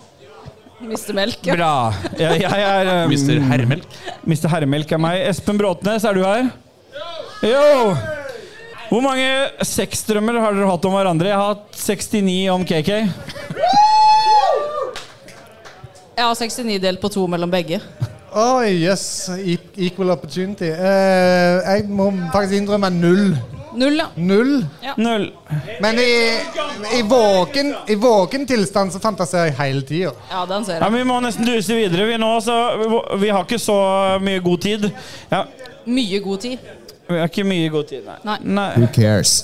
Speaker 7: Mister melk. ja.
Speaker 4: Bra. Jeg, jeg er um,
Speaker 10: Mister
Speaker 11: Mm.
Speaker 10: Herremelk.
Speaker 4: Mister Herremelk er meg. Espen Bråtnes, er du her? Yo! Hvor mange sexdrømmer har dere hatt om hverandre? Jeg har hatt 69 om KK.
Speaker 7: Jeg har 69 delt på to mellom begge.
Speaker 8: Oi, jøss. E- Equal opportunity. Eh, jeg må faktisk innrømme null.
Speaker 7: Null, ja.
Speaker 8: Null.
Speaker 7: Ja.
Speaker 4: Null.
Speaker 8: Men i, i, våken, i våken tilstand så fantaserer jeg hele tida.
Speaker 7: Ja, den ser
Speaker 4: Ja,
Speaker 7: jeg.
Speaker 4: men vi må nesten duse videre, vi nå, så vi, vi har ikke så mye god tid. Ja,
Speaker 7: Mye god tid.
Speaker 4: vi har ikke mye god tid, nei.
Speaker 7: Nei.
Speaker 4: nei.
Speaker 11: Who cares?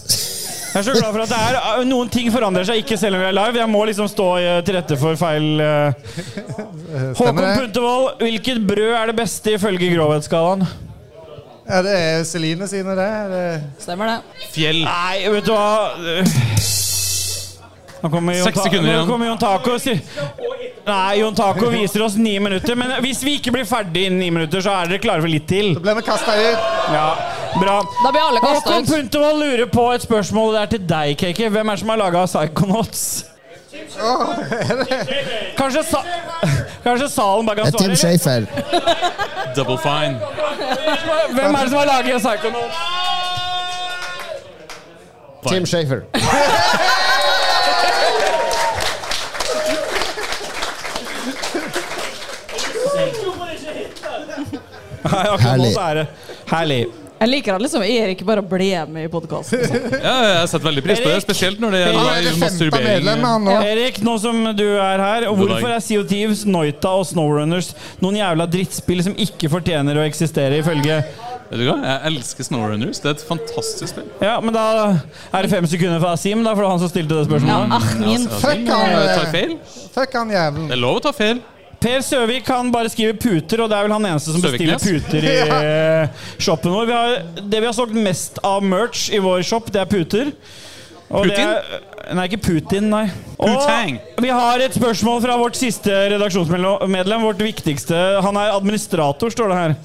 Speaker 4: Jeg er så glad for at det er eh, Noen ting forandrer seg ikke selv om vi er live. Jeg må liksom stå eh, til rette for feil
Speaker 11: (laughs)
Speaker 4: eh. Håkon
Speaker 8: det.
Speaker 4: Puntervold, hvilket brød er det beste ifølge grovhetsskalaen?
Speaker 8: Ja, det er Celine sine, det. det.
Speaker 7: Stemmer det.
Speaker 10: Fjell.
Speaker 4: Nei, vet du hva Nå kommer Jon,
Speaker 10: Seks
Speaker 4: Ta
Speaker 10: sekunder
Speaker 4: Nå
Speaker 10: igjen.
Speaker 4: kommer Jon Taco og sier- Nei, Jon Taco viser oss ni minutter, men hvis vi ikke blir ferdig innen ni minutter, så er dere klare for litt til. Da
Speaker 8: blir vi kasta ut.
Speaker 4: Ja, bra.
Speaker 7: Da blir alle kastet
Speaker 4: Håkon
Speaker 7: ut.
Speaker 4: Puntervold lurer på et spørsmål det er til deg, KK. Hvem er det som har laga Psychonauts? Kanskje, sa Kanskje salen bare
Speaker 11: Det er Tim
Speaker 4: kan svare? eller?
Speaker 11: Shafer.
Speaker 10: Double fine.
Speaker 4: Hvem er det som har laget Psychonauts?
Speaker 11: Tim Shafer.
Speaker 4: Nei, akkurat nå så er det Herlig.
Speaker 7: Jeg liker at liksom Erik bare ble med i podkasten.
Speaker 10: Ja, jeg setter veldig pris på det, spesielt når det
Speaker 4: Erik.
Speaker 10: gjelder live masturbering.
Speaker 4: Erik, nå som du er her, og
Speaker 10: God dag.
Speaker 4: hvorfor er CO Thieves, Noita og Snowrunners noen jævla drittspill som ikke fortjener å eksistere, ifølge
Speaker 10: Vet du hva? Jeg elsker Snowrunners. Det er et fantastisk spill.
Speaker 4: Ja, men da er det fem sekunder for Asim, da, for det var han som stilte det spørsmålet.
Speaker 10: Ja, Ahmin. Ja, altså, Asim,
Speaker 8: Fuck han,
Speaker 10: eh,
Speaker 8: eh,
Speaker 10: tar feil.
Speaker 8: Fuck han jævelen.
Speaker 10: Det er lov å ta feil.
Speaker 4: Per Søvik kan bare skrive puter, og det er vel han eneste som bestiller
Speaker 10: Søviknes.
Speaker 4: puter i eh, shoppen vår. Vi har, det vi har solgt mest av merch i vår shop, det er puter. Og det er, nei, ikke Putin, nei.
Speaker 10: Putang.
Speaker 4: Og vi har et spørsmål fra vårt siste redaksjonsmedlem. Vårt viktigste. Han er administrator, står det her.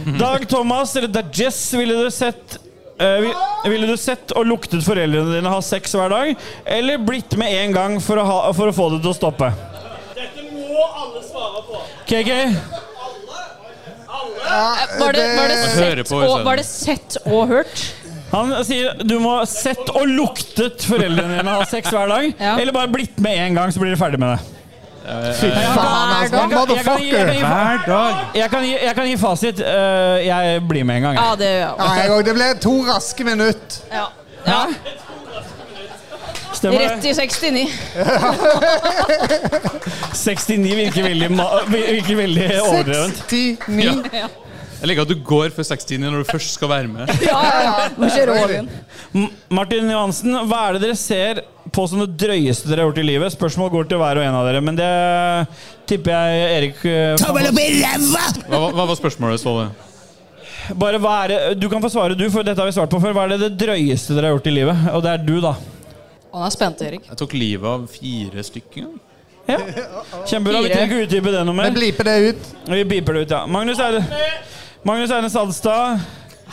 Speaker 10: Mhm.
Speaker 4: Dag Thomas, eller Dajess, ville du sett eh, vi- ville du sett og luktet foreldrene dine ha sex hver dag, eller blitt med en gang for å, ha, for å få det til å stoppe?
Speaker 13: Dette må alle svare på.
Speaker 4: KK?
Speaker 7: Eh, Var det, var det,
Speaker 4: det- Hører
Speaker 7: sett,
Speaker 4: på,
Speaker 7: og,
Speaker 4: Øystein.
Speaker 7: var det sett og hørt?
Speaker 4: Han sier du må sett og luktet foreldrene dine ha sex hver dag, eller bare blitt med en gang, så blir dere ferdig med det.
Speaker 10: Fy
Speaker 8: faen, altså,
Speaker 4: Jeg kan- jeg kan gi- jeg kan gi-
Speaker 10: Hver dag.
Speaker 4: Jeg kan gi, jeg kan gi fasit. Eh, jeg blir med en gang. jeg.
Speaker 7: Ja, det gjør
Speaker 8: Ja, jeg òg. Det ble to raske minutt.
Speaker 7: Ja.
Speaker 4: Stemmer
Speaker 7: Rett
Speaker 4: det?
Speaker 7: i 69.
Speaker 4: 69 virker veldig, ma- virker veldig overdrevent.
Speaker 8: 69.
Speaker 4: Ja.
Speaker 10: Jeg liker at du går før 60 når du først skal være med.
Speaker 7: Ja, ja, ja. Må kjøre all in.
Speaker 4: M- Martin Johansen, hva er det dere ser på som det drøyeste dere har gjort i livet? Spørsmål går til hver og en av dere, men det tipper jeg Erik eh,
Speaker 10: Tommel opp i
Speaker 4: hva-
Speaker 10: Hva, hva var spørsmålet, Ståle?
Speaker 4: Bare hva er det, Du kan få svare, du, for dette har vi svart på før. Hva er det det drøyeste dere har gjort i livet? Og det er du, da.
Speaker 7: Han er spent, Erik.
Speaker 10: Jeg tok livet av fire stykker.
Speaker 4: Ja. Kjempebra. Vi
Speaker 7: Fire.
Speaker 4: trenger ikke utdype det noe mer. Vi
Speaker 8: bliper det ut.
Speaker 4: Vi biper det ut, ja. Magnus Eide Magnus Eide Salstad.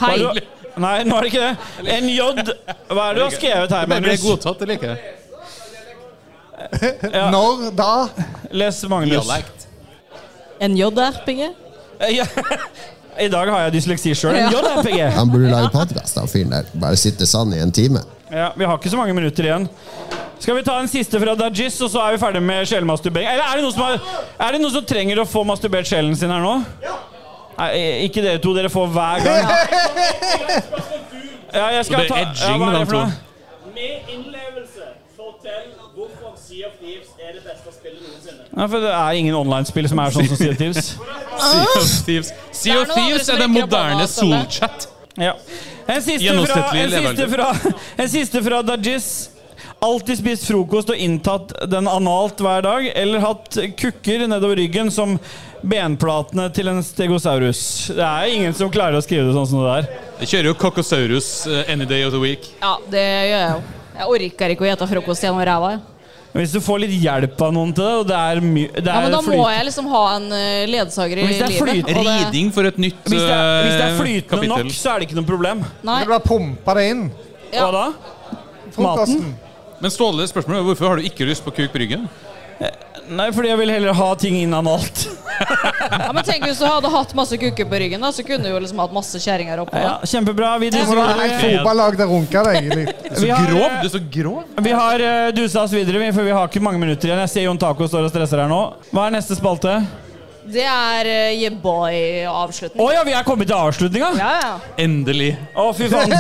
Speaker 10: Hei.
Speaker 4: Har du- Nei, nå er det ikke det. NJ. Hva er det du har skrevet her,
Speaker 10: Det bare ble
Speaker 4: Magnus?
Speaker 10: godtatt, det liker jeg.
Speaker 8: Når da?
Speaker 4: Les Magnus. Eh,
Speaker 10: Dialekt.
Speaker 7: En JRPG.
Speaker 4: Ja. (laughs) I dag har jeg dysleksi sjøl.
Speaker 7: Ja.
Speaker 4: JRPG.
Speaker 11: Han burde lage podkast, han fyren der. Bare sitte sånn i en time.
Speaker 4: Ja, Vi har ikke så mange minutter igjen. Skal vi ta en siste fra Dajis, og så er vi ferdig med sjelmasturbering? Eller er det noen som, har, er det noen som trenger å få masturbert sjelen sin her nå? Nei, ikke dere to. Dere får hver gang. Ja, jeg skal
Speaker 10: Det er
Speaker 4: ta
Speaker 10: edging,
Speaker 4: hva er
Speaker 10: de
Speaker 4: det for
Speaker 10: to.
Speaker 4: noe?
Speaker 13: Med innlevelse, fortell hvorfor Sea of Thieves er det beste spillet noensinne.
Speaker 4: Ja, for det er ingen online-spill som er sånn som Sea of
Speaker 10: (laughs)
Speaker 4: Thieves.
Speaker 10: Sea of
Speaker 4: Ah!
Speaker 10: Thieves, sea of Thieves er det moderne
Speaker 4: altså,
Speaker 10: Solchat.
Speaker 4: Ja. En siste fra,
Speaker 10: Gjennomsnittlig
Speaker 4: en siste
Speaker 10: levealder.
Speaker 4: fra, (laughs) en siste fra Dajis. Alltid spist frokost og inntatt den analt hver dag, eller hatt kukker nedover ryggen som benplatene til en stegosaurus. Det er ingen som klarer å skrive det sånn som det der.
Speaker 10: Jeg kjører jo Kokosaurus eh, any day of the week.
Speaker 7: Ja, det gjør jeg jo. Jeg orker ikke å gjete frokost gjennom ræva. jeg.
Speaker 4: Hvis du får litt hjelp av noen til det, og det er mye
Speaker 7: Ja, men da må jeg liksom ha en eh, ledsager i
Speaker 4: Hvis det er
Speaker 7: livet.
Speaker 4: flyt-
Speaker 7: og det-
Speaker 10: Riding for et nytt
Speaker 4: Hvis det er, hvis det er
Speaker 10: eh,
Speaker 4: flytende
Speaker 10: kapittel.
Speaker 4: nok, så er det ikke noe problem.
Speaker 7: Nei.
Speaker 8: Du har pumpa det inn.
Speaker 4: Hva da? Maten?
Speaker 10: Men Ståle, spørsmålet er hvorfor har du ikke lyst på kuk på ryggen?
Speaker 4: Nei, fordi jeg vil heller ha ting inn analt.
Speaker 7: Ja, men tenk hvis du hadde hatt masse kukker på ryggen, da, så kunne du jo liksom hatt masse kjerringer oppå.
Speaker 4: Ja, kjempebra. Vi
Speaker 8: Du må
Speaker 4: driver
Speaker 8: ha et fotballag der runker deg. litt.
Speaker 4: Vi har, eh,
Speaker 10: så grov.
Speaker 4: Vi har eh, dusa oss videre, vi, for vi har ikke mange minutter igjen. Jeg ser Jon Taco står og stresser her nå. Hva er neste spalte?
Speaker 7: Det er uh, yeah
Speaker 4: Å
Speaker 7: boy-avslutning.
Speaker 4: ja, vi er kommet til avslutninga!
Speaker 7: Ja, ja.
Speaker 10: Endelig.
Speaker 4: Å, fy faen.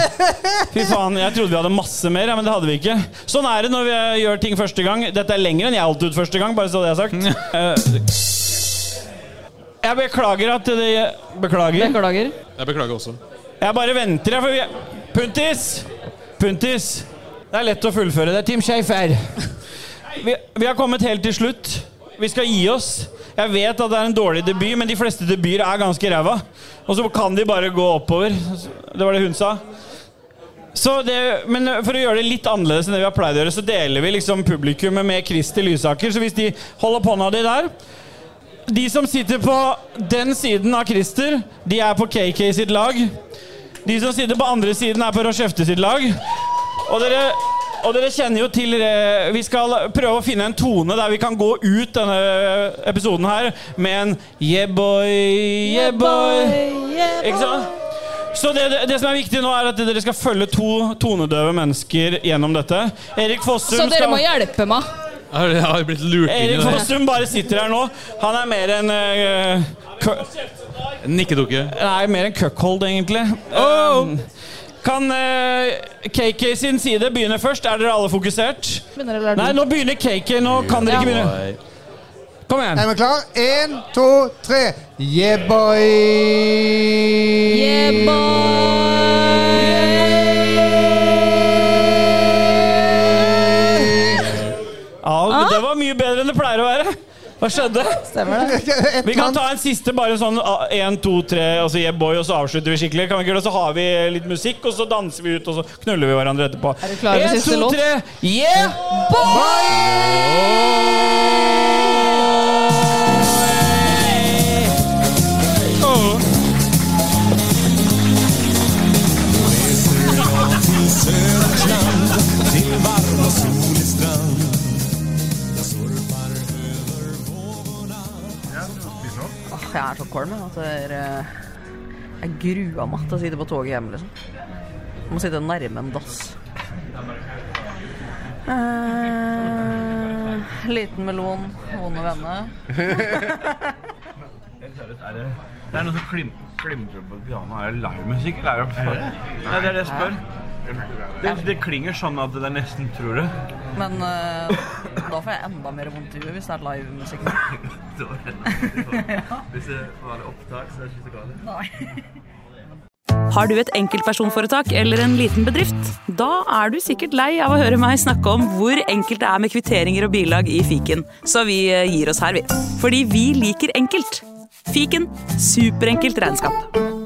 Speaker 4: Fy faen, Jeg trodde vi hadde masse mer, ja, men det hadde vi ikke. Sånn er det når vi eh, gjør ting første gang. Dette er lenger enn jeg holdt ut første gang, bare så det er sagt. Eh, jeg beklager at det Beklager.
Speaker 7: Beklager.
Speaker 10: Jeg beklager også.
Speaker 4: Jeg bare venter, jeg. For vi... Puntis! Puntis! Det er lett å fullføre. Det er Tim Schafer. Vi, vi har kommet helt til slutt. Vi skal gi oss. Jeg vet at det er en dårlig debut, men de fleste debuter er ganske ræva. Og så kan de bare gå oppover. Det var det hun sa. Så det, men for å gjøre det litt annerledes enn det vi har pleid å gjøre, så deler vi liksom publikummet med Kristi Lysaker. Så hvis de holder på hånda di der De som sitter på den siden av Christer, de er på KK sitt lag. De som sitter på andre siden, er på Rochefte sitt lag. Og dere, og dere kjenner jo til eh, Vi skal prøve å finne en tone der vi kan gå ut denne episoden her med en yeah boy, yeah boy. Ikke sant? Så det, det, det som er viktig nå, er at dere skal følge to tonedøve mennesker gjennom dette. Erik Fossum
Speaker 7: Så dere
Speaker 4: skal
Speaker 7: må hjelpe meg.
Speaker 10: Jeg har, jeg har blitt lurt inn i
Speaker 4: Erik
Speaker 10: det. der.
Speaker 4: Fossum bare sitter her nå. Han er mer en eh, kø-
Speaker 10: Nikkedukke.
Speaker 4: Nei, mer en cuckold, egentlig. Um, kan eh, KK sin side begynne først? Er dere alle fokusert?
Speaker 7: Begynner eller er det
Speaker 4: Nei,
Speaker 7: du?
Speaker 4: nå begynner KK. Nå kan dere ikke begynne. Kom igjen.
Speaker 8: Er vi klare? Én, to, tre. Yeah, boy!
Speaker 7: Yeah
Speaker 4: Ja,
Speaker 7: Ah!
Speaker 4: men Det var mye bedre enn det pleier å være. Hva skjedde? Vi kan ta en siste, bare sånn ah, en, to, tre, altså yeah boy, og så avslutter vi skikkelig. Kan vi ikke gjøre det? Så har vi litt musikk, og så danser vi ut, og så knuller vi hverandre etterpå.
Speaker 7: Er du klar over
Speaker 4: En,
Speaker 7: siste
Speaker 4: to,
Speaker 7: låt?
Speaker 4: tre, yeah!
Speaker 3: Åh, jeg er så kvalm jeg, at jeg, er, eh, jeg gruer meg til å sitte på toget hjemme, liksom. Jeg må sitte nærme en dass. Eh, liten melon, vond å vende.
Speaker 2: Det er noe som klim, klimrer på pianoet. Er det livemusikk, eller er det Nei, det er det jeg spør. Det, det klinger sånn at jeg nesten tror det.
Speaker 3: Men eh, da
Speaker 14: får jeg enda mer vondt i huet hvis det er livemusikk.
Speaker 15: (laughs) Da er
Speaker 14: (laughs)
Speaker 15: det- Hvis det var opptak, så er det ikke så galt.
Speaker 14: (laughs)
Speaker 3: Har du et enkeltpersonforetak eller en liten bedrift? Da er du sikkert lei av å høre meg snakke om hvor enkelt det er med kvitteringer og bilag i fiken, så vi eh, gir oss her, vi. Fordi vi liker enkelt. Fiken superenkelt regnskap.